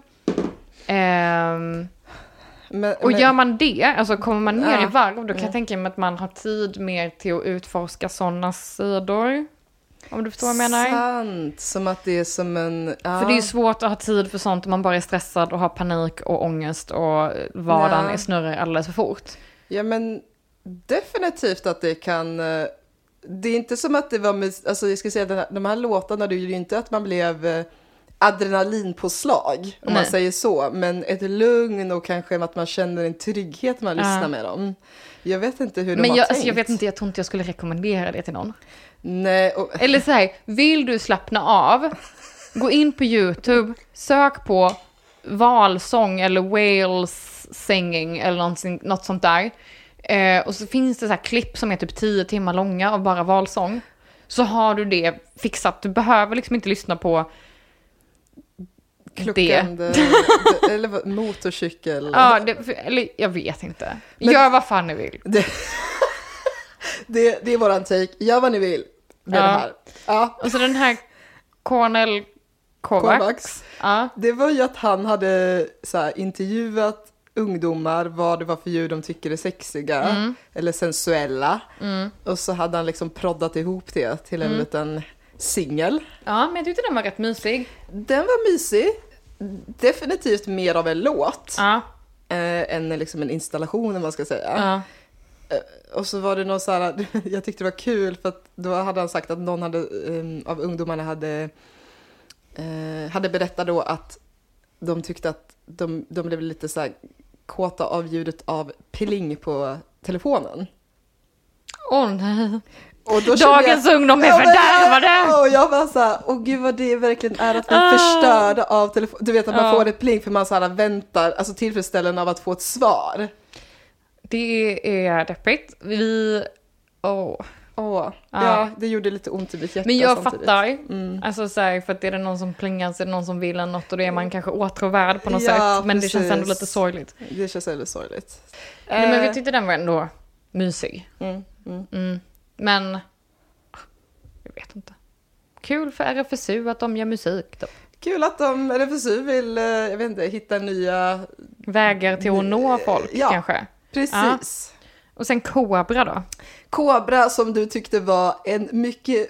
[SPEAKER 2] Ehm,
[SPEAKER 1] Men,
[SPEAKER 2] och
[SPEAKER 1] men,
[SPEAKER 2] gör man det, alltså kommer man ner
[SPEAKER 1] Ja. Mm.
[SPEAKER 2] i varv, då kan jag tänka mig att man har tid mer till att utforska sådana sidor. Om du förstår vad jag menar.
[SPEAKER 1] Sant, som att det är som en... Ja.
[SPEAKER 2] För det är ju svårt att ha tid för sånt om man bara är stressad och har panik och ångest och vardagen
[SPEAKER 1] Ja.
[SPEAKER 2] är snurrar alldeles för fort.
[SPEAKER 1] Ja, men definitivt att det kan... eh, Det är inte som att det var... Med, alltså, jag ska säga, den här, de här låtarna, det är ju inte att man blev eh, adrenalinpåslag, om man
[SPEAKER 2] Nej.
[SPEAKER 1] säger så. Men ett lugn och kanske att man känner en trygghet när man
[SPEAKER 2] Ja.
[SPEAKER 1] lyssnar med dem. Jag vet inte hur de
[SPEAKER 2] Men
[SPEAKER 1] har
[SPEAKER 2] jag,
[SPEAKER 1] tänkt.
[SPEAKER 2] alltså jag vet inte, jag tror inte jag skulle rekommendera det till någon.
[SPEAKER 1] Nej, och,
[SPEAKER 2] Eller så här, vill du slappna av, gå in på YouTube, sök på valsång eller whales singing eller någonting, något sånt där. Eh, och så finns det så här klipp som är typ 10 timmar långa av bara valsång. Så har du det fixat, du behöver liksom inte lyssna på det.
[SPEAKER 1] kluckande... eller vad- motorcykel.
[SPEAKER 2] Ja, det, för- eller jag vet inte.
[SPEAKER 1] Men-
[SPEAKER 2] Gör vad fan ni vill.
[SPEAKER 1] Det, det, det är våran take. Gör vad ni vill med
[SPEAKER 2] Ja.
[SPEAKER 1] det här. Ja,
[SPEAKER 2] Och så den här Cornel Kovacs.
[SPEAKER 1] Kovacs.
[SPEAKER 2] Ja.
[SPEAKER 1] Det var ju att han hade så här, intervjuat ungdomar vad det var för djur de tycker är sexiga
[SPEAKER 2] Mm.
[SPEAKER 1] eller sensuella. Och så hade han liksom proddat ihop det till
[SPEAKER 2] Mm.
[SPEAKER 1] en liten singel.
[SPEAKER 2] ja, men jag tyckte den var rätt mysig.
[SPEAKER 1] Den var mysig. Definitivt mer av en låt
[SPEAKER 2] Ja,
[SPEAKER 1] eh, än liksom en installation om man ska säga.
[SPEAKER 2] ja.
[SPEAKER 1] Och så var det någon så här, jag tyckte det var kul för att då hade han sagt att någon hade, eh, av ungdomarna hade, eh, hade berättat då att de tyckte att de, de blev lite så här kåta av ljudet av pling på telefonen.
[SPEAKER 2] Åh nej.
[SPEAKER 1] Och då kände
[SPEAKER 2] Dagens ungdom är
[SPEAKER 1] Ja, men-
[SPEAKER 2] fördärvade! Ah.
[SPEAKER 1] Och jag var så här, åh gud vad det verkligen är att bli förstörd av telefon. Du vet att man
[SPEAKER 2] Ja.
[SPEAKER 1] får ett pling för man så här väntar, alltså tillfredsställen av att få ett svar.
[SPEAKER 2] Det är deppigt. Vi... Åh.
[SPEAKER 1] Åh,
[SPEAKER 2] Ja.
[SPEAKER 1] ja, det gjorde lite ont i mitt hjärta
[SPEAKER 2] Men jag
[SPEAKER 1] samtidigt. Mm.
[SPEAKER 2] fattar. Alltså så här, för att är det någon som plingar så är det någon som vill en något och då är man kanske åtråvärd på något
[SPEAKER 1] Ja,
[SPEAKER 2] sätt. Men det känns ändå
[SPEAKER 1] precis.
[SPEAKER 2] lite sorgligt.
[SPEAKER 1] Det känns väldigt sorgligt.
[SPEAKER 2] Nej, men
[SPEAKER 1] Eh,
[SPEAKER 2] vi tyckte den var ändå mysig.
[SPEAKER 1] Mm,
[SPEAKER 2] Mm. Men... ah, Jag vet inte. Kul för RFSU att de gör musik. Då.
[SPEAKER 1] Kul att de, RFSU vill, eh, jag vet inte, hitta nya...
[SPEAKER 2] Vägar till att nå folk
[SPEAKER 1] Ja.
[SPEAKER 2] kanske.
[SPEAKER 1] Precis.
[SPEAKER 2] Och sen Kobra då.
[SPEAKER 1] Kobra som du tyckte var en mycket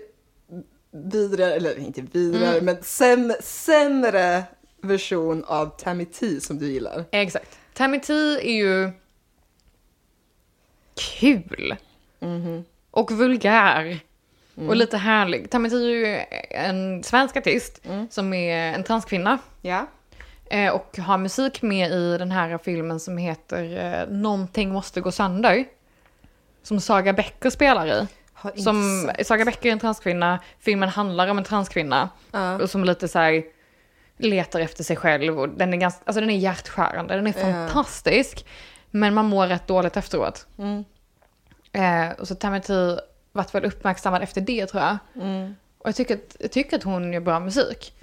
[SPEAKER 1] vidare, eller inte vidare, men säm, sämre version av Tammy T som du gillar.
[SPEAKER 2] Exakt. Tammy T är ju kul. Och vulgär. Och lite härlig. Tammy T är ju en svensk artist som är en transkvinna.
[SPEAKER 1] Ja.
[SPEAKER 2] eh, Och har musik med i den här filmen som heter eh, Någonting måste gå sönder. Som Saga Becker spelar i.
[SPEAKER 1] Har inte
[SPEAKER 2] Som,
[SPEAKER 1] sett.
[SPEAKER 2] Saga Becker är en transkvinna, filmen handlar om en transkvinna. Och som lite så här letar efter sig själv och den är, ganska, alltså den är hjärtskärande, den är fantastisk. Men man mår rätt dåligt efteråt.
[SPEAKER 1] Mm,
[SPEAKER 2] Eh, och så Tammy T vart väl uppmärksammad efter det tror jag.
[SPEAKER 1] mm,
[SPEAKER 2] Och jag tycker, att, jag tycker att hon gör bra musik.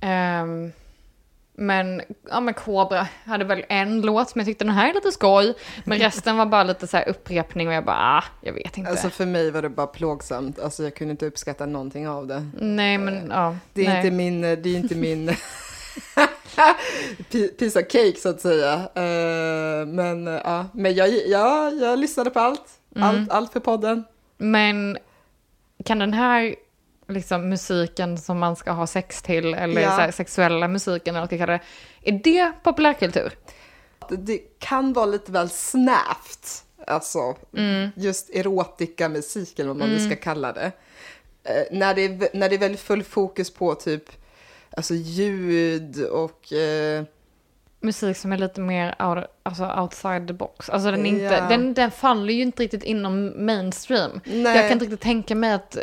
[SPEAKER 2] Ehm, men, ja men Cobra hade väl en låt som jag tyckte den här är lite skoj. Men resten var bara lite så här upprepning och jag bara, ah, jag vet inte.
[SPEAKER 1] Alltså för mig var det bara plågsamt, alltså jag kunde inte uppskatta någonting av det.
[SPEAKER 2] Nej men ja.
[SPEAKER 1] eh, Det är
[SPEAKER 2] nej.
[SPEAKER 1] inte min, det är inte min pi- piece of cake så att säga. Eh, Men eh, ja, men jag, ja, jag lyssnade på allt. Allt, allt för podden.
[SPEAKER 2] Men kan den här liksom, musiken som man ska ha sex till, eller
[SPEAKER 1] Ja.
[SPEAKER 2] så här, sexuella musiken eller vad man ska kalla det. Är det populärkultur?
[SPEAKER 1] Det, det kan vara lite väl snävt. Alltså, just erotika musik eller vad man nu ska kalla det. Eh, när, det är, vä- när det är väldigt full fokus på typ alltså ljud och... Eh,
[SPEAKER 2] Musik som är lite mer out, alltså outside the box. Alltså den, är inte,
[SPEAKER 1] Ja.
[SPEAKER 2] den, den faller ju inte riktigt inom mainstream.
[SPEAKER 1] Nej.
[SPEAKER 2] Jag kan inte riktigt tänka mig att eh,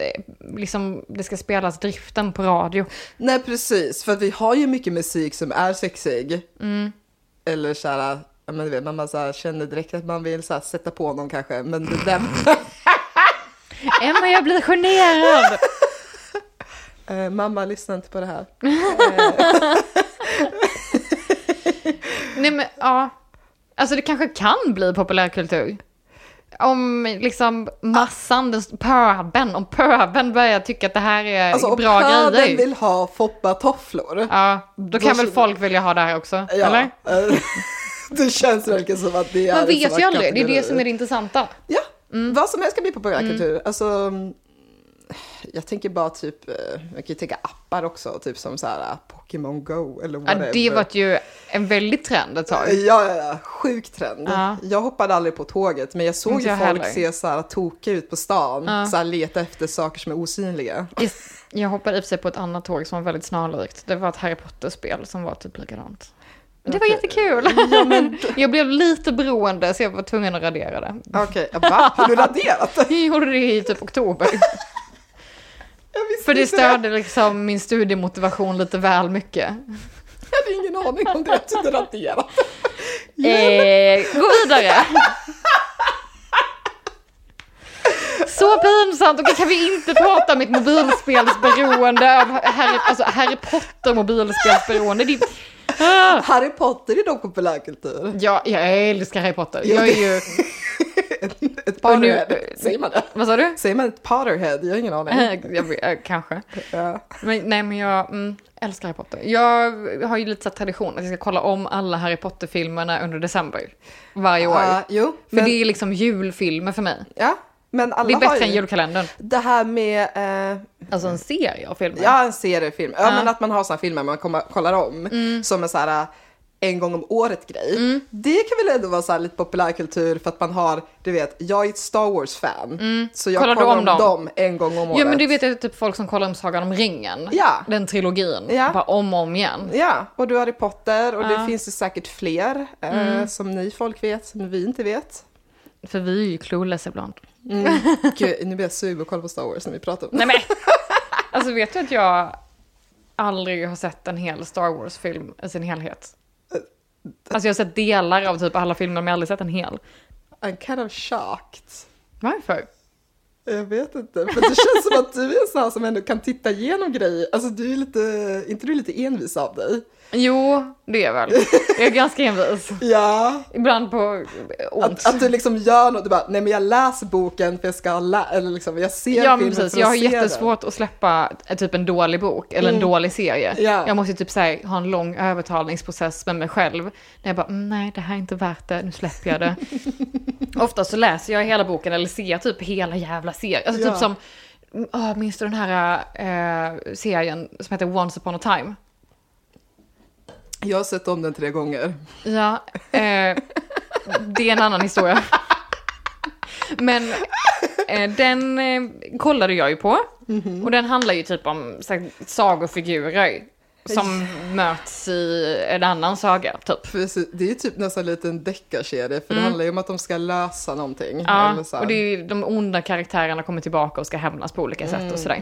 [SPEAKER 2] liksom, det ska spelas driften på radio.
[SPEAKER 1] nej, precis. För att vi har ju mycket musik som är sexig.
[SPEAKER 2] Mm.
[SPEAKER 1] Eller så här, ja, men du vet, man bara så här, känner direkt att man vill så här, sätta på någon kanske. Men det där...
[SPEAKER 2] Emma, jag blir generad!
[SPEAKER 1] Eh, mamma, lyssna inte på det här.
[SPEAKER 2] Nej men ja. Alltså det kanske kan bli populärkultur. Om liksom massan, den, pöben, om pöben börjar tycka att det här är
[SPEAKER 1] Alltså, om
[SPEAKER 2] bra
[SPEAKER 1] pöbeln
[SPEAKER 2] grejer.
[SPEAKER 1] vill ha foppatofflor.
[SPEAKER 2] Ja, då kan
[SPEAKER 1] Då-
[SPEAKER 2] väl folk vilja ha det här också?
[SPEAKER 1] Ja.
[SPEAKER 2] Eller?
[SPEAKER 1] eh, Det känns verkligen som att det är
[SPEAKER 2] Man
[SPEAKER 1] en sån
[SPEAKER 2] vet
[SPEAKER 1] här
[SPEAKER 2] ju aldrig, det är
[SPEAKER 1] kategori.
[SPEAKER 2] det som är Mm. det intressanta.
[SPEAKER 1] Ja, vad som helst kan bli populärkultur. Alltså, mm, jag tänker bara typ, eh, jag kan ju tänka appar också, typ som så här eh, Pokémon Go eller
[SPEAKER 2] Ja,
[SPEAKER 1] whatever.
[SPEAKER 2] det var ju en väldigt trend ett tag.
[SPEAKER 1] Ja, ja, ja, sjuk trend.
[SPEAKER 2] Ja.
[SPEAKER 1] Jag hoppade aldrig på tåget, men jag såg
[SPEAKER 2] Inte
[SPEAKER 1] ju
[SPEAKER 2] jag
[SPEAKER 1] folk
[SPEAKER 2] heller.
[SPEAKER 1] se så här tokiga ut på stan, så här leta efter saker som är osynliga.
[SPEAKER 2] Just- Jag hoppade i och för sig på ett annat tåg som var väldigt snarlikt. Det var ett Harry Potter-spel som var typ likadant. Men Det var jättekul. Jag blev lite beroende så jag var tvungen att radera det.
[SPEAKER 1] Okej, va? Har du raderat?
[SPEAKER 2] Jag gjorde det i typ oktober.
[SPEAKER 1] Jag visste
[SPEAKER 2] För det
[SPEAKER 1] inte
[SPEAKER 2] störde liksom min studiemotivation lite väl mycket.
[SPEAKER 1] Jag hade ingen aning om det, jag tyckte raderat.
[SPEAKER 2] Eh, gå vidare. Så pinsamt, okej kan vi inte prata om mitt mobilspelsberoende av Harry, alltså Harry Potter mobilspelsberoende? Det, ah.
[SPEAKER 1] Harry Potter är dock populärkultur.
[SPEAKER 2] ja, jag älskar Harry Potter. Jag är ju,
[SPEAKER 1] Ett, ett
[SPEAKER 2] Och nu-
[SPEAKER 1] Potterhead, säger man det?
[SPEAKER 2] vad sa du?
[SPEAKER 1] Säger man ett Potterhead? Jag har ingen aning.
[SPEAKER 2] Eh, Jag, eh, kanske.
[SPEAKER 1] Ja.
[SPEAKER 2] Men, nej men jag mm, älskar Harry Potter. Jag har ju lite så här tradition att jag ska kolla om alla Harry Potter-filmerna under december. Varje år.
[SPEAKER 1] Ja, Ah, jo,
[SPEAKER 2] För
[SPEAKER 1] men,
[SPEAKER 2] det är liksom julfilmer för mig.
[SPEAKER 1] ja, men alla
[SPEAKER 2] Det är
[SPEAKER 1] har
[SPEAKER 2] bättre
[SPEAKER 1] ju
[SPEAKER 2] än julkalendern.
[SPEAKER 1] Det här med, eh,
[SPEAKER 2] Alltså en serie av filmer.
[SPEAKER 1] ja en seriefilm, ja, men att man har sådana filmer man kommer, kollar om
[SPEAKER 2] Mm.
[SPEAKER 1] som en så här eh, en gång om året grej. Det kan väl ändå vara så här lite populärkultur för att man har, du vet, jag är ett Star Wars-fan. Så jag kollar,
[SPEAKER 2] Mm. Kollar du om
[SPEAKER 1] om
[SPEAKER 2] dem?
[SPEAKER 1] dem? en gång om året.
[SPEAKER 2] Ja men du vet jag typ folk som kollar om Sagan om ringen.
[SPEAKER 1] Ja.
[SPEAKER 2] Den trilogin.
[SPEAKER 1] Ja.
[SPEAKER 2] Bara om och om igen.
[SPEAKER 1] Ja, och du har Harry Potter och det finns det säkert fler eh,
[SPEAKER 2] Mm.
[SPEAKER 1] som ni folk vet, som vi inte vet.
[SPEAKER 2] För vi är ju clueless ibland.
[SPEAKER 1] Gud, nu blir jag sugen på att kolla på Star Wars när vi pratar om det.
[SPEAKER 2] Nej men! alltså vet du att jag aldrig har sett en hel Star Wars-film i sin helhet? Alltså jag har sett delar av typ alla filmer men jag har aldrig sett en hel.
[SPEAKER 1] I'm kind of shocked.
[SPEAKER 2] Varför?
[SPEAKER 1] Jag vet inte, för det känns som att du är en sån här som ändå kan titta igenom grejer. Alltså du är lite, inte du är lite envis av dig?
[SPEAKER 2] Jo, det är jag väl. Jag är ganska envis.
[SPEAKER 1] Ja.
[SPEAKER 2] Ibland på ont.
[SPEAKER 1] Att, att du liksom gör något, du bara, nej men jag läser boken för jag ska lä- eller liksom jag ser
[SPEAKER 2] Ja men
[SPEAKER 1] filmen
[SPEAKER 2] precis,
[SPEAKER 1] för
[SPEAKER 2] jag
[SPEAKER 1] att
[SPEAKER 2] har
[SPEAKER 1] se den. Mm.
[SPEAKER 2] jättesvårt att släppa eh, typ en dålig bok eller en dålig serie.
[SPEAKER 1] Ja.
[SPEAKER 2] Jag måste ju typ så här, ha en lång övertalningsprocess med mig själv. När jag bara, "Mm, nej det här är inte värt det, nu släpper jag det. Ofta så läser jag hela boken eller ser typ hela jävla serien. Alltså
[SPEAKER 1] Ja.
[SPEAKER 2] typ som, oh, minns du den här eh, serien som heter Once upon a time?
[SPEAKER 1] Jag har sett om den tre gånger.
[SPEAKER 2] Ja, eh, det är en annan historia. Men eh, den eh, kollade jag ju på. Och den handlar ju typ om så här, sagofigurer som möts i en annan saga, typ.
[SPEAKER 1] Precis, det är ju typ nästan lite en deckarserie, för det handlar ju om att de ska lösa någonting.
[SPEAKER 2] Mm. Ja,
[SPEAKER 1] Mm, eller så här.
[SPEAKER 2] och det är ju, de onda karaktärerna kommer tillbaka och ska hämnas på olika
[SPEAKER 1] Mm,
[SPEAKER 2] sätt och sådär.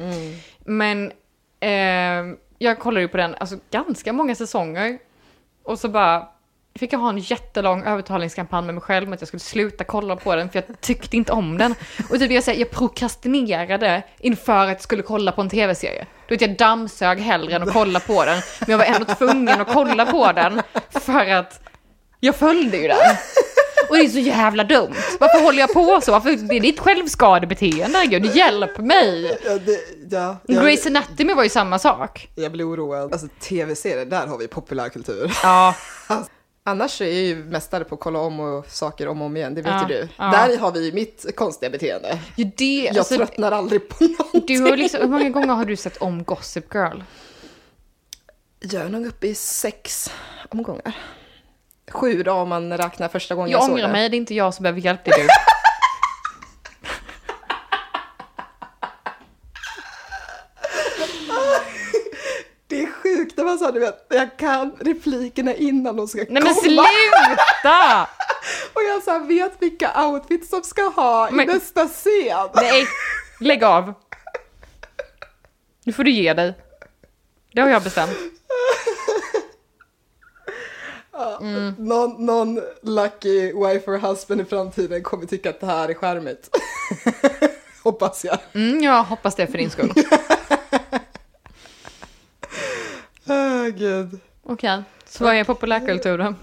[SPEAKER 2] Men eh, jag kollade ju på den, alltså ganska många säsonger. Och så bara fick jag ha en jättelång övertalningskampanj med mig själv om att jag skulle sluta kolla på den för jag tyckte inte om den. Och typ jag, säger, jag prokrastinerade inför att jag skulle kolla på en tv-serie. Du vet jag dammsög hellre än att kolla på den. Men jag var ändå tvungen att kolla på den för att jag följde ju den. Och det är så jävla dumt. Varför håller jag på så? Varför, det är ditt självskadebeteende, gud. Hjälp mig!
[SPEAKER 1] Ja, det, ja, jag,
[SPEAKER 2] Grace Anatomy var ju samma sak.
[SPEAKER 1] jag blir oroad. Alltså tv-serier, där har vi populärkultur.
[SPEAKER 2] Ja.
[SPEAKER 1] Annars är jag ju mästare på att kolla om och saker om och om igen, det vet
[SPEAKER 2] Ja,
[SPEAKER 1] ju du.
[SPEAKER 2] ja.
[SPEAKER 1] Där har vi ju mitt konstiga beteende.
[SPEAKER 2] Ju det,
[SPEAKER 1] Jag
[SPEAKER 2] alltså,
[SPEAKER 1] tröttnar aldrig på någonting.
[SPEAKER 2] du har liksom, hur många gånger har du sett om Gossip Girl?
[SPEAKER 1] Jag är nog uppe i sex omgångar. Sju då om man räknar första gången jag,
[SPEAKER 2] Jag
[SPEAKER 1] såg
[SPEAKER 2] ångrar
[SPEAKER 1] det.
[SPEAKER 2] mig, det är inte jag som behöver hjälp, det är du.
[SPEAKER 1] Det är sjukt när man sa du vet, jag kan replikerna innan de ska
[SPEAKER 2] Nej
[SPEAKER 1] komma.
[SPEAKER 2] men sluta!
[SPEAKER 1] Och jag så här, vet vilka outfits de ska ha
[SPEAKER 2] Men-
[SPEAKER 1] i nästa scen.
[SPEAKER 2] Nej, lägg av. Nu får du ge dig. Det har jag bestämt. Mm.
[SPEAKER 1] Någon, någon lucky wife or husband i framtiden kommer tycka att det här är charmigt. Hoppas jag.
[SPEAKER 2] Mm, jag hoppas det för din skull.
[SPEAKER 1] Åh gud.
[SPEAKER 2] Okej, så var jag på populärkulturen.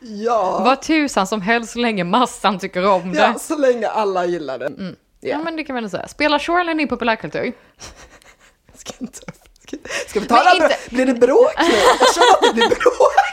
[SPEAKER 1] ja.
[SPEAKER 2] Vad tusan som helst så länge massan tycker om det.
[SPEAKER 1] ja, så länge alla gillar den. Ja.
[SPEAKER 2] Mm. Ja men det kan man väl säga. Spelar Shoreline i populärkultur?
[SPEAKER 1] Ska, inte, ska, ska vi ta
[SPEAKER 2] Men
[SPEAKER 1] det här?
[SPEAKER 2] inte-
[SPEAKER 1] Blir det bråk nu? Jag känner att det blir bråk.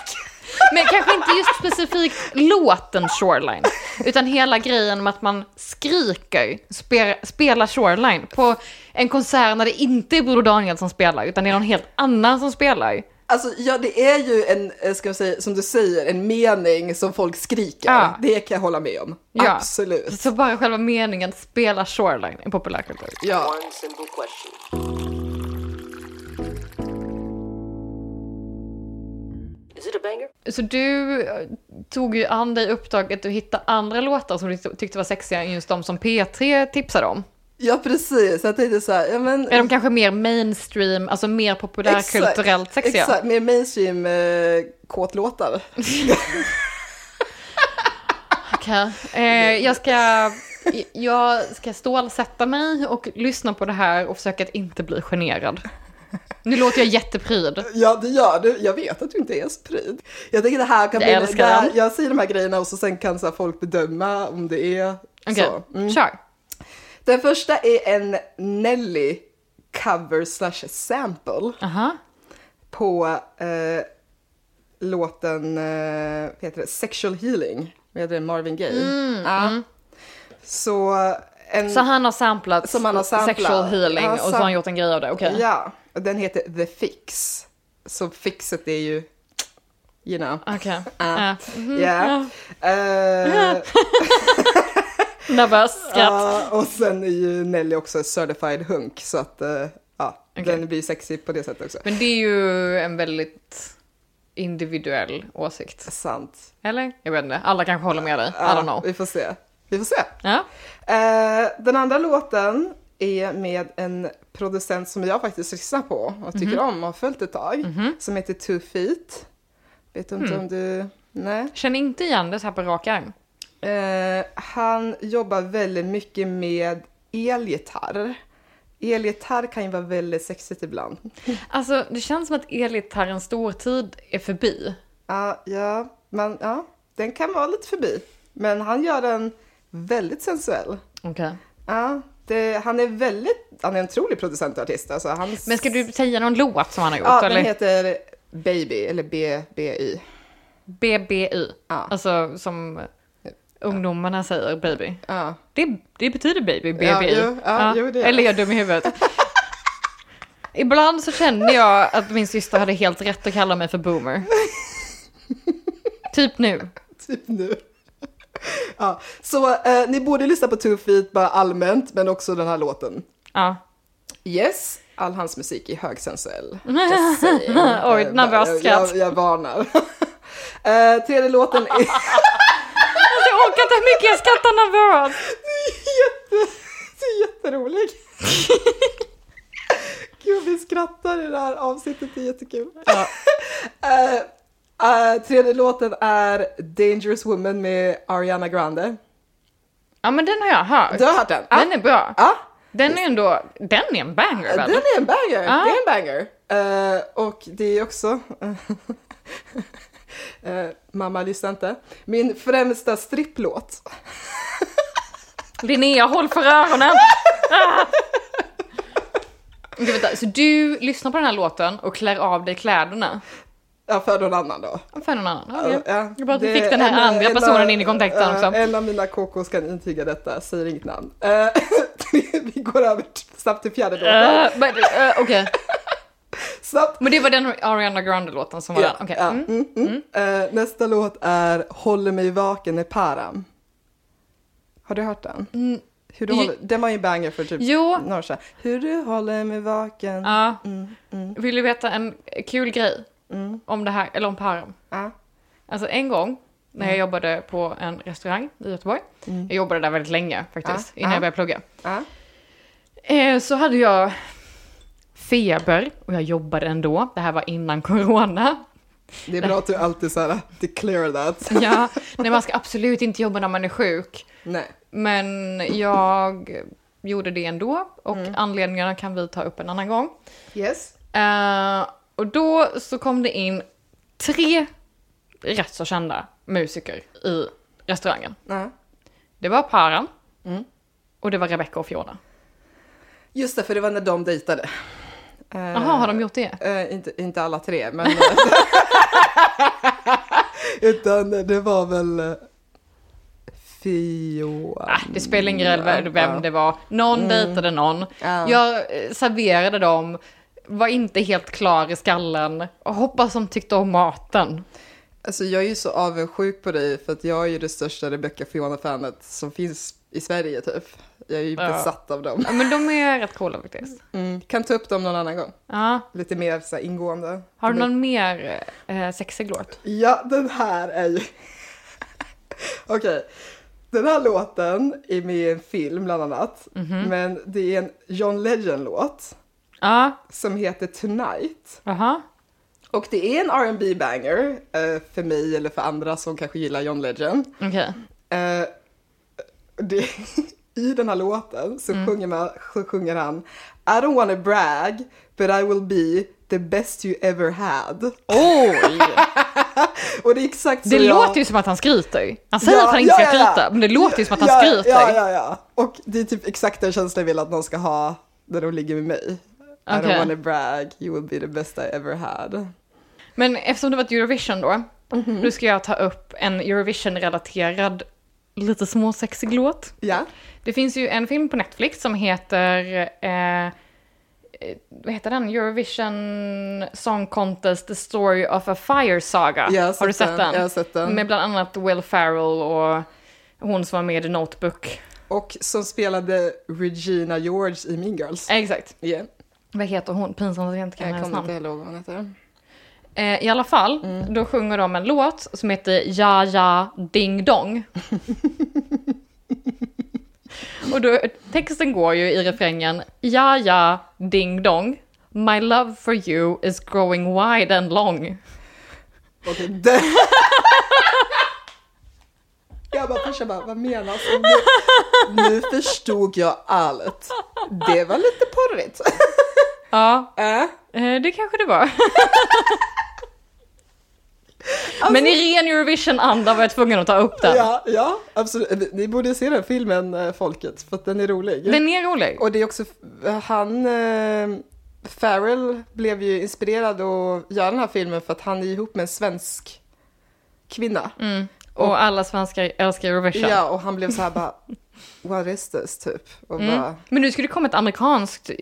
[SPEAKER 2] Men kanske inte just specifikt låten Shoreline. Utan hela grejen med att man skriker spe, spela Shoreline på en konsert när det inte är Broder Daniel som spelar utan det är någon helt annan som spelar.
[SPEAKER 1] Alltså, ja, det är ju en, eh, ska jag säga, som du säger, en mening som folk skriker.
[SPEAKER 2] Ja.
[SPEAKER 1] Det kan jag hålla med om. Absolut.
[SPEAKER 2] Så bara själva meningen spela Shoreline i populärkultur.
[SPEAKER 1] Ja.
[SPEAKER 4] One simple question. Is it a banger?
[SPEAKER 2] Så du eh, tog ju an dig uppdraget att hitta andra låtar som du tyckte var sexiga än just de som P3 tipsade om.
[SPEAKER 1] ja, precis. Jag tänkte så här, ja, men...
[SPEAKER 2] Är de kanske mer mainstream, alltså mer populärkulturellt sexiga?
[SPEAKER 1] Exakt, mer mainstream eh, kåtlåtar.
[SPEAKER 2] Okej. Eh, jag, ska, jag ska stålsätta mig och lyssna på det här och försöka att inte bli generad. Nu låter jag jättepryd.
[SPEAKER 1] Ja, det gör du. Jag vet att du inte är så pryd. Jag tänker det här kan
[SPEAKER 2] Jag
[SPEAKER 1] bli...
[SPEAKER 2] älskar
[SPEAKER 1] det här-
[SPEAKER 2] den.
[SPEAKER 1] jag säger de här grejerna och så sen kan så här, folk bedöma om det är
[SPEAKER 2] Okej,
[SPEAKER 1] så. Mm.
[SPEAKER 2] kör.
[SPEAKER 1] Den första är en Nelly cover slash sample.
[SPEAKER 2] Aha.
[SPEAKER 1] på eh, låten eh, vad heter det? Sexual Healing med det Marvin Gaye.
[SPEAKER 2] Mm,
[SPEAKER 1] ja. Så en...
[SPEAKER 2] Så han har samplat
[SPEAKER 1] Som han har samplat.
[SPEAKER 2] sexual healing
[SPEAKER 1] Han har
[SPEAKER 2] och så har
[SPEAKER 1] sam-
[SPEAKER 2] han gjort en grej av det, okej.
[SPEAKER 1] Ja, och den heter The Fix. Så fixet är ju... You know.
[SPEAKER 2] Okej.
[SPEAKER 1] Ja.
[SPEAKER 2] Ja. Mhm.
[SPEAKER 1] Yeah. Eh,
[SPEAKER 2] Nervös skratt.
[SPEAKER 1] ja, och sen är ju Nelly också certified hunk så att eh, ja,
[SPEAKER 2] Okej.
[SPEAKER 1] den blir sexig på det sättet också.
[SPEAKER 2] Men det är ju en väldigt individuell åsikt.
[SPEAKER 1] Sant.
[SPEAKER 2] Eller? Jag vet inte. Alla kanske håller med dig. I
[SPEAKER 1] Ja,
[SPEAKER 2] don't know.
[SPEAKER 1] Vi får se. Vi får se.
[SPEAKER 2] Ja.
[SPEAKER 1] Eh, den andra låten är med en producent som jag faktiskt lyssnar på och tycker
[SPEAKER 2] Mhm.
[SPEAKER 1] om och har följt ett tag. Som heter Two Feet. Vet inte
[SPEAKER 2] Mm.
[SPEAKER 1] om du... Nej.
[SPEAKER 2] Känner inte igen det så här på rak arm.
[SPEAKER 1] Eh, han jobbar väldigt mycket med elgitarr. Elgitarr kan ju vara väldigt sexigt ibland.
[SPEAKER 2] Alltså, det känns som att elgitarrens stortid är förbi.
[SPEAKER 1] Ja, ja, men ja, den kan vara lite förbi. Men han gör den väldigt sensuell.
[SPEAKER 2] Okej.
[SPEAKER 1] Ja, det, han är väldigt, han är en otrolig producent och artist. Alltså, han
[SPEAKER 2] Men ska du säga någon låt som han har gjort?
[SPEAKER 1] Ja,
[SPEAKER 2] eller?
[SPEAKER 1] den heter Baby, eller BBY.
[SPEAKER 2] BBY.
[SPEAKER 1] Ja.
[SPEAKER 2] Alltså som ungdomarna säger, baby.
[SPEAKER 1] Ja.
[SPEAKER 2] Det, det betyder baby, BBI.
[SPEAKER 1] Ja, jo, ja, jo, det gör
[SPEAKER 2] Eller
[SPEAKER 1] det.
[SPEAKER 2] jag är dum i huvudet. Ibland så känner jag att min syster hade helt rätt att kalla mig för boomer. typ nu.
[SPEAKER 1] Typ nu. Ja, så eh, ni borde lyssna på Two Feet bara allmänt, men också den här låten.
[SPEAKER 2] Ja.
[SPEAKER 1] Yes, all hans musik är högsensuell.
[SPEAKER 2] Oj, nervöst skratt.
[SPEAKER 1] Jag, jag varnar. Eh, tredje låten är
[SPEAKER 2] Alltså, jag orkar inte hur mycket jag skrattar nervöst.
[SPEAKER 1] jätte, det är jätterolig. Gud, vi skrattar i det här avsnittet, det är jättekul.
[SPEAKER 2] Ja.
[SPEAKER 1] Eh, eh, tredje låten är Dangerous Woman med Ariana Grande.
[SPEAKER 2] ja, men den har jag hört.
[SPEAKER 1] Du har hört den? Ja.
[SPEAKER 2] Den är bra.
[SPEAKER 1] Ja,
[SPEAKER 2] Den är ändå, den är en banger
[SPEAKER 1] den
[SPEAKER 2] väl?
[SPEAKER 1] är en banger.
[SPEAKER 2] Ja.
[SPEAKER 1] Det är en banger. Eh, och det är också... Eh, mamma lyssnar inte. Min främsta stripplåt.
[SPEAKER 2] Linnea, håll för öronen! Ah! Gud, vänta, så du lyssnar på den här låten och klär av dig kläderna?
[SPEAKER 1] Ja, för någon annan då.
[SPEAKER 2] För någon annan. Ja, det-
[SPEAKER 1] Ja,
[SPEAKER 2] Jag bara att vi
[SPEAKER 1] det-
[SPEAKER 2] fick den här
[SPEAKER 1] en-
[SPEAKER 2] andra
[SPEAKER 1] en-
[SPEAKER 2] personen in i kontexten
[SPEAKER 1] ja,
[SPEAKER 2] också.
[SPEAKER 1] En av mina KKs kan intyga detta, säger inget namn. Eh, vi går över t- snabbt till fjärde låten.
[SPEAKER 2] Eh, men, eh, Okej,
[SPEAKER 1] Snabbt.
[SPEAKER 2] men det var den Ariana Grande-låten som var
[SPEAKER 1] Ja,
[SPEAKER 2] den. Okej.
[SPEAKER 1] ja,
[SPEAKER 2] Mm.
[SPEAKER 1] mm, mm. Eh, nästa låt är Håller mig vaken i Param. Har du hört den?
[SPEAKER 2] Mm.
[SPEAKER 1] Hur du
[SPEAKER 2] Jo-
[SPEAKER 1] håller, den var ju en banger för typ
[SPEAKER 2] Jo.
[SPEAKER 1] några år sedan. Hur du håller mig vaken.
[SPEAKER 2] Ja.
[SPEAKER 1] Mm,
[SPEAKER 2] Vill du veta en kul grej om det här, eller om Parm?
[SPEAKER 1] Ja.
[SPEAKER 2] Alltså en gång när
[SPEAKER 1] Mm.
[SPEAKER 2] jag jobbade på en restaurang i Göteborg. Jag jobbade där väldigt länge faktiskt,
[SPEAKER 1] Ja,
[SPEAKER 2] innan
[SPEAKER 1] ja.
[SPEAKER 2] jag började plugga.
[SPEAKER 1] Ja.
[SPEAKER 2] Eh, så hade jag feber och jag jobbade ändå. Det här var innan corona.
[SPEAKER 1] Det är bra att du alltid så här declare that.
[SPEAKER 2] Ja, nej, man ska absolut inte jobba när man är sjuk.
[SPEAKER 1] Nej.
[SPEAKER 2] Men jag gjorde det ändå och
[SPEAKER 1] Mm.
[SPEAKER 2] anledningarna kan vi ta upp en annan gång.
[SPEAKER 1] Yes.
[SPEAKER 2] Eh, och då så kom det in tre rätt så kända musiker i restaurangen.
[SPEAKER 1] Ja.
[SPEAKER 2] Det var Paran
[SPEAKER 1] Mm.
[SPEAKER 2] och det var Rebecca och Fiona.
[SPEAKER 1] Just det, för det var när de dejtade. Eh,
[SPEAKER 2] Jaha, har de gjort det?
[SPEAKER 1] Eh, inte, inte alla tre, men... Utan det var väl... eh, Fiona.
[SPEAKER 2] Ah, det spelar ingen roll vem- vem det var. Någon dejtade någon.
[SPEAKER 1] Mm. Ja.
[SPEAKER 2] Jag eh, serverade dem, var inte helt klar i skallen och hoppas de tyckte om maten.
[SPEAKER 1] Alltså jag är ju så avundsjuk på dig för att jag är ju det största Rebecca Fiona-fanet som finns i Sverige typ. Jag är ju
[SPEAKER 2] Ja.
[SPEAKER 1] besatt av dem.
[SPEAKER 2] Ja, men de är rätt coola faktiskt.
[SPEAKER 1] Mm. Kan ta upp dem någon annan gång.
[SPEAKER 2] Ja.
[SPEAKER 1] Lite mer så här ingående.
[SPEAKER 2] Har du någon mer eh, sexig låt?
[SPEAKER 1] Ja, den här är ju... Okej. Den här låten är med i en film bland annat.
[SPEAKER 2] Mhm.
[SPEAKER 1] Men det är en John Legend-låt
[SPEAKER 2] Ja,
[SPEAKER 1] som heter Tonight.
[SPEAKER 2] aha.
[SPEAKER 1] Och det är en rb banger eh, för mig eller för andra som kanske gillar John Legend.
[SPEAKER 2] Okej.
[SPEAKER 1] Eh, det, I den här låten
[SPEAKER 2] Mm.
[SPEAKER 1] så, sjunger man, så sjunger han I don't wanna brag but I will be the best you ever had.
[SPEAKER 2] Oj!
[SPEAKER 1] Och det är exakt så
[SPEAKER 2] Det
[SPEAKER 1] jag...
[SPEAKER 2] låter ju som att han skryter. Han säger
[SPEAKER 1] Ja,
[SPEAKER 2] att han inte ska
[SPEAKER 1] ja, ja, ja.
[SPEAKER 2] skryta, men det låter ju som att han
[SPEAKER 1] ja,
[SPEAKER 2] skryter.
[SPEAKER 1] Ja, ja, ja. Och det är typ exakt den känslan jag vill att någon ska ha när de ligger med mig. I
[SPEAKER 2] Okej.
[SPEAKER 1] don't wanna brag, you will be the best I ever had.
[SPEAKER 2] Men eftersom det var ett Eurovision då,
[SPEAKER 1] Mhm.
[SPEAKER 2] nu ska jag ta upp en Eurovision-relaterad lite småsexig låt.
[SPEAKER 1] Ja,
[SPEAKER 2] Det finns ju en film på Netflix som heter, eh, eh, vad heter den? Eurovision Song Contest The Story of a Fire Saga.
[SPEAKER 1] Jag har
[SPEAKER 2] har du
[SPEAKER 1] sett den.
[SPEAKER 2] sett den?
[SPEAKER 1] Jag har sett den.
[SPEAKER 2] Med bland annat Will Ferrell och hon som var med i Notebook.
[SPEAKER 1] och som spelade Regina George i Mean Girls.
[SPEAKER 2] Exakt.
[SPEAKER 1] Yeah.
[SPEAKER 2] Vad heter hon? Pinsamt att jag inte kan
[SPEAKER 1] Jag
[SPEAKER 2] hennes
[SPEAKER 1] kommer
[SPEAKER 2] namn.
[SPEAKER 1] inte ihåg vad hon heter.
[SPEAKER 2] Eh, I alla fall,
[SPEAKER 1] Mm.
[SPEAKER 2] då sjunger de en låt som heter Ja Ja Ding Dong. Och då, texten går ju i refrängen Ja Ja Ding Dong. My love for you is growing wide and long.
[SPEAKER 1] Okej, det... Jag bara, först jag bara, vad menas? Och Nu, nu förstod jag allt. Det var lite porrigt.
[SPEAKER 2] Ja,
[SPEAKER 1] Äh?
[SPEAKER 2] eh, det kanske det var. Men i ren Eurovision-anda var jag tvungen att ta upp den.
[SPEAKER 1] Alltså- Ja, ja, absolut. Ni borde se den filmen, eh, folket, för att den är rolig.
[SPEAKER 2] Den är rolig.
[SPEAKER 1] Och det är också, han, eh, Farrell blev ju inspirerad att göra den här filmen för att han är ihop med en svensk kvinna.
[SPEAKER 2] Och alla svenskar älskar Eurovision.
[SPEAKER 1] Mm. Ja, och han blev så här bara, what is this typ? Och bara,
[SPEAKER 2] Men nu skulle det komma ett amerikanskt eh,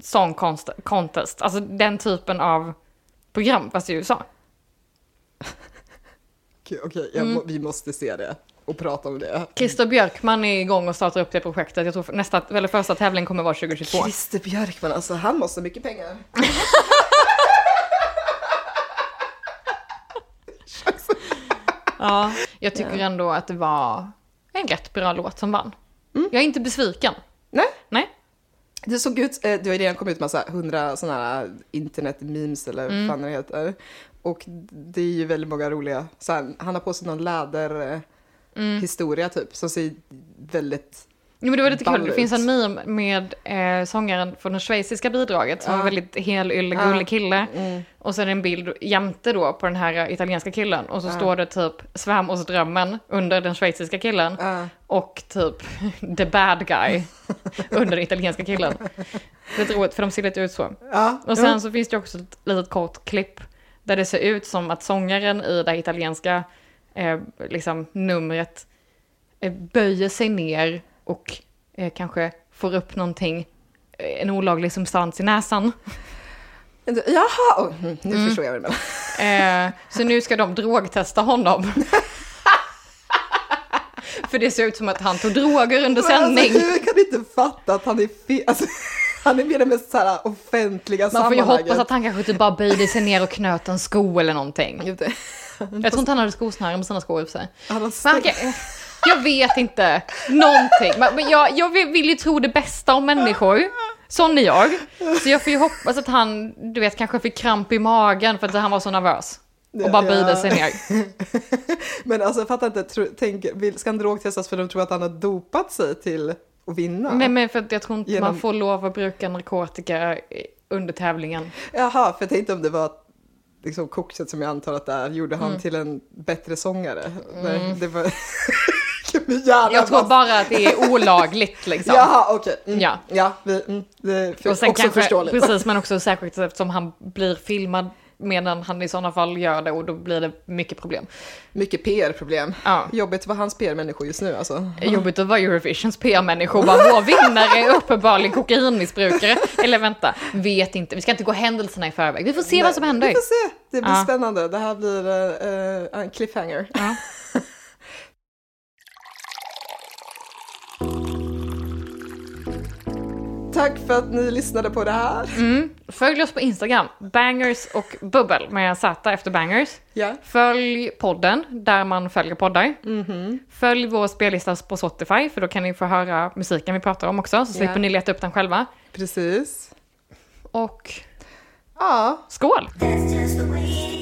[SPEAKER 2] song const- contest, alltså den typen av program, fast i USA.
[SPEAKER 1] okej, okej, jag må, vi måste se det och prata om det.
[SPEAKER 2] Christer Björkman är igång och startar upp det projektet. Jag tror nästa, eller första tävling kommer vara 2022.
[SPEAKER 1] Christer Björkman, alltså han måste ha mycket pengar.
[SPEAKER 2] Ja. Jag tycker ändå att det var en rätt bra låt som vann. Jag är inte besviken.
[SPEAKER 1] Nej,
[SPEAKER 2] Nej.
[SPEAKER 1] det såg ut, eh, det har ju redan kommit ut massa hundra sådana här internet-memes eller
[SPEAKER 2] Mm.
[SPEAKER 1] vad fan det heter. Och det är ju väldigt många roliga, så här, han har på sig någon läder... eh,
[SPEAKER 2] Mm.
[SPEAKER 1] historia typ, som ser väldigt...
[SPEAKER 2] Jo, men det var lite kul. Det
[SPEAKER 1] Ballut.
[SPEAKER 2] finns en meme med eh, sångaren från det schweiziska bidraget som var en väldigt helylle,
[SPEAKER 1] Ja. Mm.
[SPEAKER 2] gullig kille. Och sen en bild jämte då på den här italienska killen. Och så står det typ svärmorsdrömmen under den schweiziska killen.
[SPEAKER 1] Ja.
[SPEAKER 2] Och typ the bad guy under den italienska killen. Det är roligt för de ser lite ut så.
[SPEAKER 1] Ja,
[SPEAKER 2] Och sen så finns det också ett litet kort klipp Där det ser ut som att sångaren i det italienska eh, liksom, numret eh, böjer sig ner och eh, kanske får upp någonting, eh, en olaglig substans i näsan.
[SPEAKER 1] Jaha, oh, mm, nu förstår jag vad du menar.
[SPEAKER 2] Eh, så nu ska de drogtesta honom. För det ser ut som att han tog droger under sändning.
[SPEAKER 1] Alltså, hur kan du inte fatta att han är fel? Alltså, han är med i det mest så här, offentliga
[SPEAKER 2] Man får ju
[SPEAKER 1] sammanhanget.
[SPEAKER 2] hoppas att han kanske typ bara böjde sig ner och knöt en sko eller någonting.
[SPEAKER 1] Just det.
[SPEAKER 2] Jag tror inte han hade skosnören på sina skor i och för sig.
[SPEAKER 1] Han har
[SPEAKER 2] Men han kan, jag vet inte. Någonting. Men men jag, jag vill vill ju tro det bästa om människor. Sån är jag. Så jag får ju hoppas att han, du vet, kanske fick kramp i magen för att han var så nervös. Och bara
[SPEAKER 1] Ja.
[SPEAKER 2] böjde sig ner.
[SPEAKER 1] Men alltså jag fattar inte, tro, tänk, vill- ska han drogtestas för de tror att han har dopat sig till att vinna?
[SPEAKER 2] Nej men för att jag tror inte
[SPEAKER 1] Genom-
[SPEAKER 2] man får lov att bruka narkotika eh, under tävlingen.
[SPEAKER 1] Jaha, för jag tänkte om det var liksom kokset som jag antar att det är, gjorde han
[SPEAKER 2] Mm.
[SPEAKER 1] till en bättre sångare? Nej, det var... Vilken jävla
[SPEAKER 2] Jag tror
[SPEAKER 1] massa-
[SPEAKER 2] bara att det är olagligt liksom.
[SPEAKER 1] Jaha, okej. Mm,
[SPEAKER 2] Ja.
[SPEAKER 1] ja vi, mm, det är för,
[SPEAKER 2] Och sen
[SPEAKER 1] också
[SPEAKER 2] kanske,
[SPEAKER 1] förståeligt.
[SPEAKER 2] precis men också särskilt eftersom han blir filmad medan han i sådana fall gör det och då blir det mycket problem.
[SPEAKER 1] Mycket PR-problem.
[SPEAKER 2] Ja.
[SPEAKER 1] Jobbigt för hans PR-människor just nu alltså.
[SPEAKER 2] Jobbigt att vara Eurovisions PR-människor bara vår vinnare är uppenbarligen kokainmissbrukare. Eller vänta, vet inte. Vi ska inte gå händelserna i förväg. Vi får se vad som händer.
[SPEAKER 1] Vi får se, det blir
[SPEAKER 2] Ja.
[SPEAKER 1] spännande. Det här blir eh, eh, en cliffhanger.
[SPEAKER 2] Ja.
[SPEAKER 1] Tack för att ni lyssnade på det här.
[SPEAKER 2] Mm. Följ oss på Instagram, bangers och bubbel med Z efter bangers.
[SPEAKER 1] Ja.
[SPEAKER 2] Följ podden där man följer poddar.
[SPEAKER 1] Mhm.
[SPEAKER 2] Följ vår spellista på Spotify för då kan ni få höra musiken vi pratar om också så slipper
[SPEAKER 1] Ja.
[SPEAKER 2] ni leta upp den själva.
[SPEAKER 1] Precis.
[SPEAKER 2] Och
[SPEAKER 1] Ja,
[SPEAKER 2] skål!
[SPEAKER 3] That's just the way it